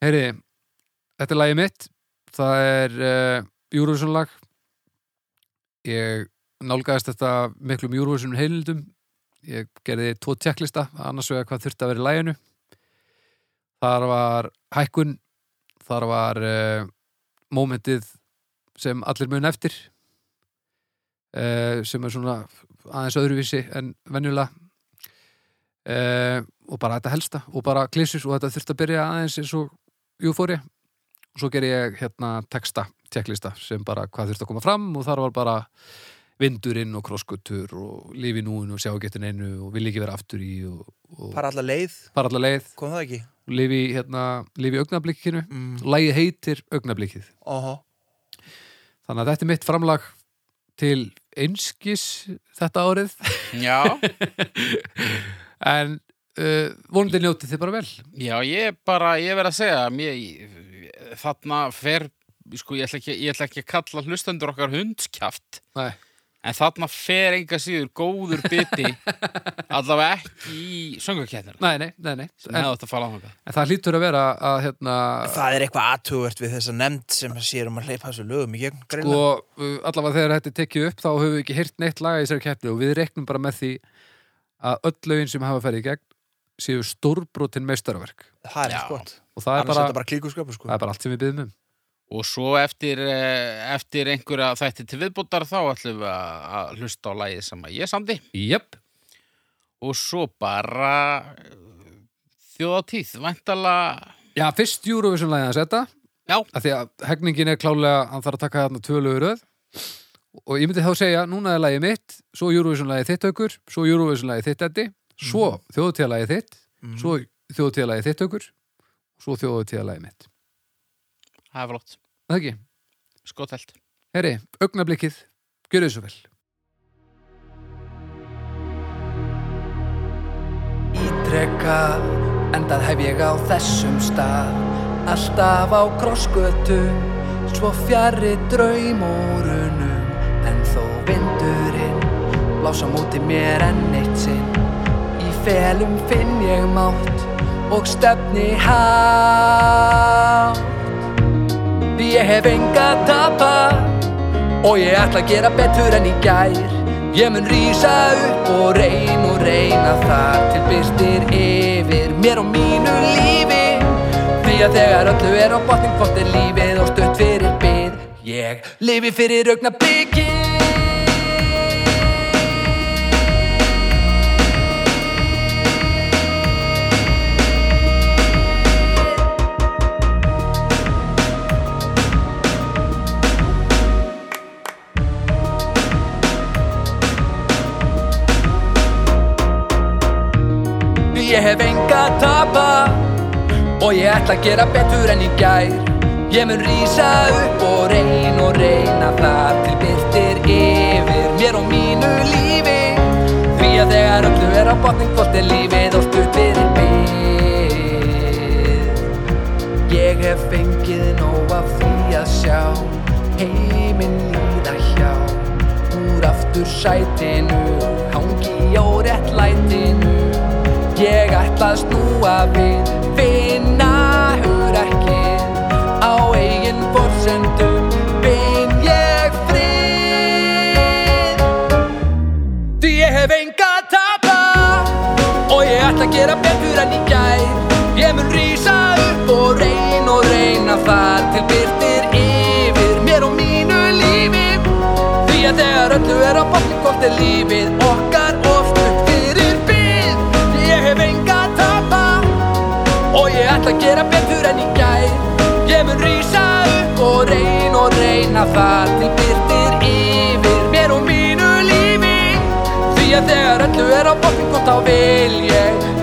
Speaker 2: Heyri, þetta er lagið mitt Það er uh, Eurovision lag Ég nálgæðist þetta miklum Eurovision heilindum Ég gerði tvo tjekklista annars vegar hvað þurfti að vera í laginu Þar var hækkun Þar var uh, mómentið sem allir mun eftir uh, sem er svona aðeins öðruvísi en venjulega uh, og bara þetta helsta og bara klísus og þetta þurfti að byrja aðeins eins og júfóri og svo ger ég hérna texta, tjekklista sem bara hvað þurfti að koma fram og þar var bara vindurinn og krosskutur og lífi núin og sjá getin einu og vil ekki vera aftur í og, og
Speaker 3: Para allar leið,
Speaker 2: bara alla leið
Speaker 3: kom það ekki?
Speaker 2: lifi, hérna, lifi augnablikinu
Speaker 3: Mm.
Speaker 2: Lægi heitir augnablikið
Speaker 3: Aha,
Speaker 2: Þannig að þetta er mitt framlag til einskis þetta árið
Speaker 1: Já.
Speaker 2: en uh, vonandi njótið þið bara vel
Speaker 1: Já, ég bara, ég verð að segja mér, ég, þarna fer sko, ég ætla, ekki, ég ætla ekki að kalla hlustendur okkar hundskjaft
Speaker 2: Nei,
Speaker 1: en þarna fer enga síður góður biti allavega ekki í söngarkjætnir
Speaker 2: nei, nei, nei, nei.
Speaker 1: en
Speaker 2: En,
Speaker 1: þetta fara á þangað
Speaker 2: en það hlýtur að vera að hérna,
Speaker 3: það er eitthvað aðtugvert við þessa nefnd sem sér um að hleypa þessu lögum í gegn
Speaker 2: sko,
Speaker 3: greinilega.
Speaker 2: uh, allavega þegar þetta er tekið upp þá höfum við ekki heyrt neitt laga í þessari keppni og við reknum bara með því að öll lögin sem hafa ferið í gegn séu stórbrotin meistarverk
Speaker 3: Það er
Speaker 1: Já.
Speaker 3: ekki gott
Speaker 2: og Sko, það er,
Speaker 3: Annars er
Speaker 2: bara,
Speaker 3: þetta bara klíkuskapu sko
Speaker 2: það er bara allt sem við byggðum um
Speaker 1: og svo eftir, eh, eftir einhverja þætti til viðbútar þá ætlum við að að hlusta á lagið sem að ég samdi
Speaker 2: Jöp,
Speaker 1: og svo bara eh, þjóðatíð, væntala
Speaker 2: já, fyrst Eurovision lagið hans þetta
Speaker 1: já,
Speaker 2: að því að hegningin er klálega hann þarf að taka þarna tvölugur öð og ég myndi þá segja, núna er lagið mitt svo Eurovision-lagið þitt aukur svo Eurovision-lagið þitt eddi svo mm. þjóðutíðalagið þitt svo þjóðutíðalagið þitt aukur svo þjóðutíðalagið mitt
Speaker 1: það er flott
Speaker 2: Er það ekki?
Speaker 1: skotelt
Speaker 2: Herri, augnablikið, gjörðu svo vel.
Speaker 4: Ítreka, endað hef ég á þessum stað Alltaf á krossgötu, svo fjarri draumórunum En þó vindurinn, blása múti mér enn eitt sinn Í felum finn ég mátt og stefni hátt Því ég hef enga að tapa Og ég ætla að gera betur en í gær Ég mun rísa upp og reyn og reyna þar Til byrstir yfir mér og mínu lífi Því að þegar öllu er á botning Hvort er lífið og stutt fyrir bið Ég lifi fyrir augna Því ég hef enga að tapa Og ég ætla að gera betur en í gær Ég mun rísa upp og reyn og reyna þar Til byrtir yfir mér og mínu lífi Því að þegar öllu er á botning Hvort er lífið og stutt fyrir byrð Ég hef fengið nóg af því að sjá Heiminn líða hjá Úr aftur sætinu Hangi á réttlætinu Ég ætla að snúa við Finna hugrekkið Á eigin forsendum Vinn ég frið Því ég hef enga að tapa Og ég ætla að gera betur en í gær Ég mun rísa upp og reyn og reyna þar Til byrtir yfir mér og mínu lífi Því að þegar öllu er á botni Hvort er lífið okkar oft upp fyrir byrð Ég hef enga að tapa Og ég ætla að gera betur en í gær Ég mun rísa upp og reyn og reyna þar Til byrtir yfir mér og mínu lífi Því að þegar öllu er á botni Hvort þá vil ég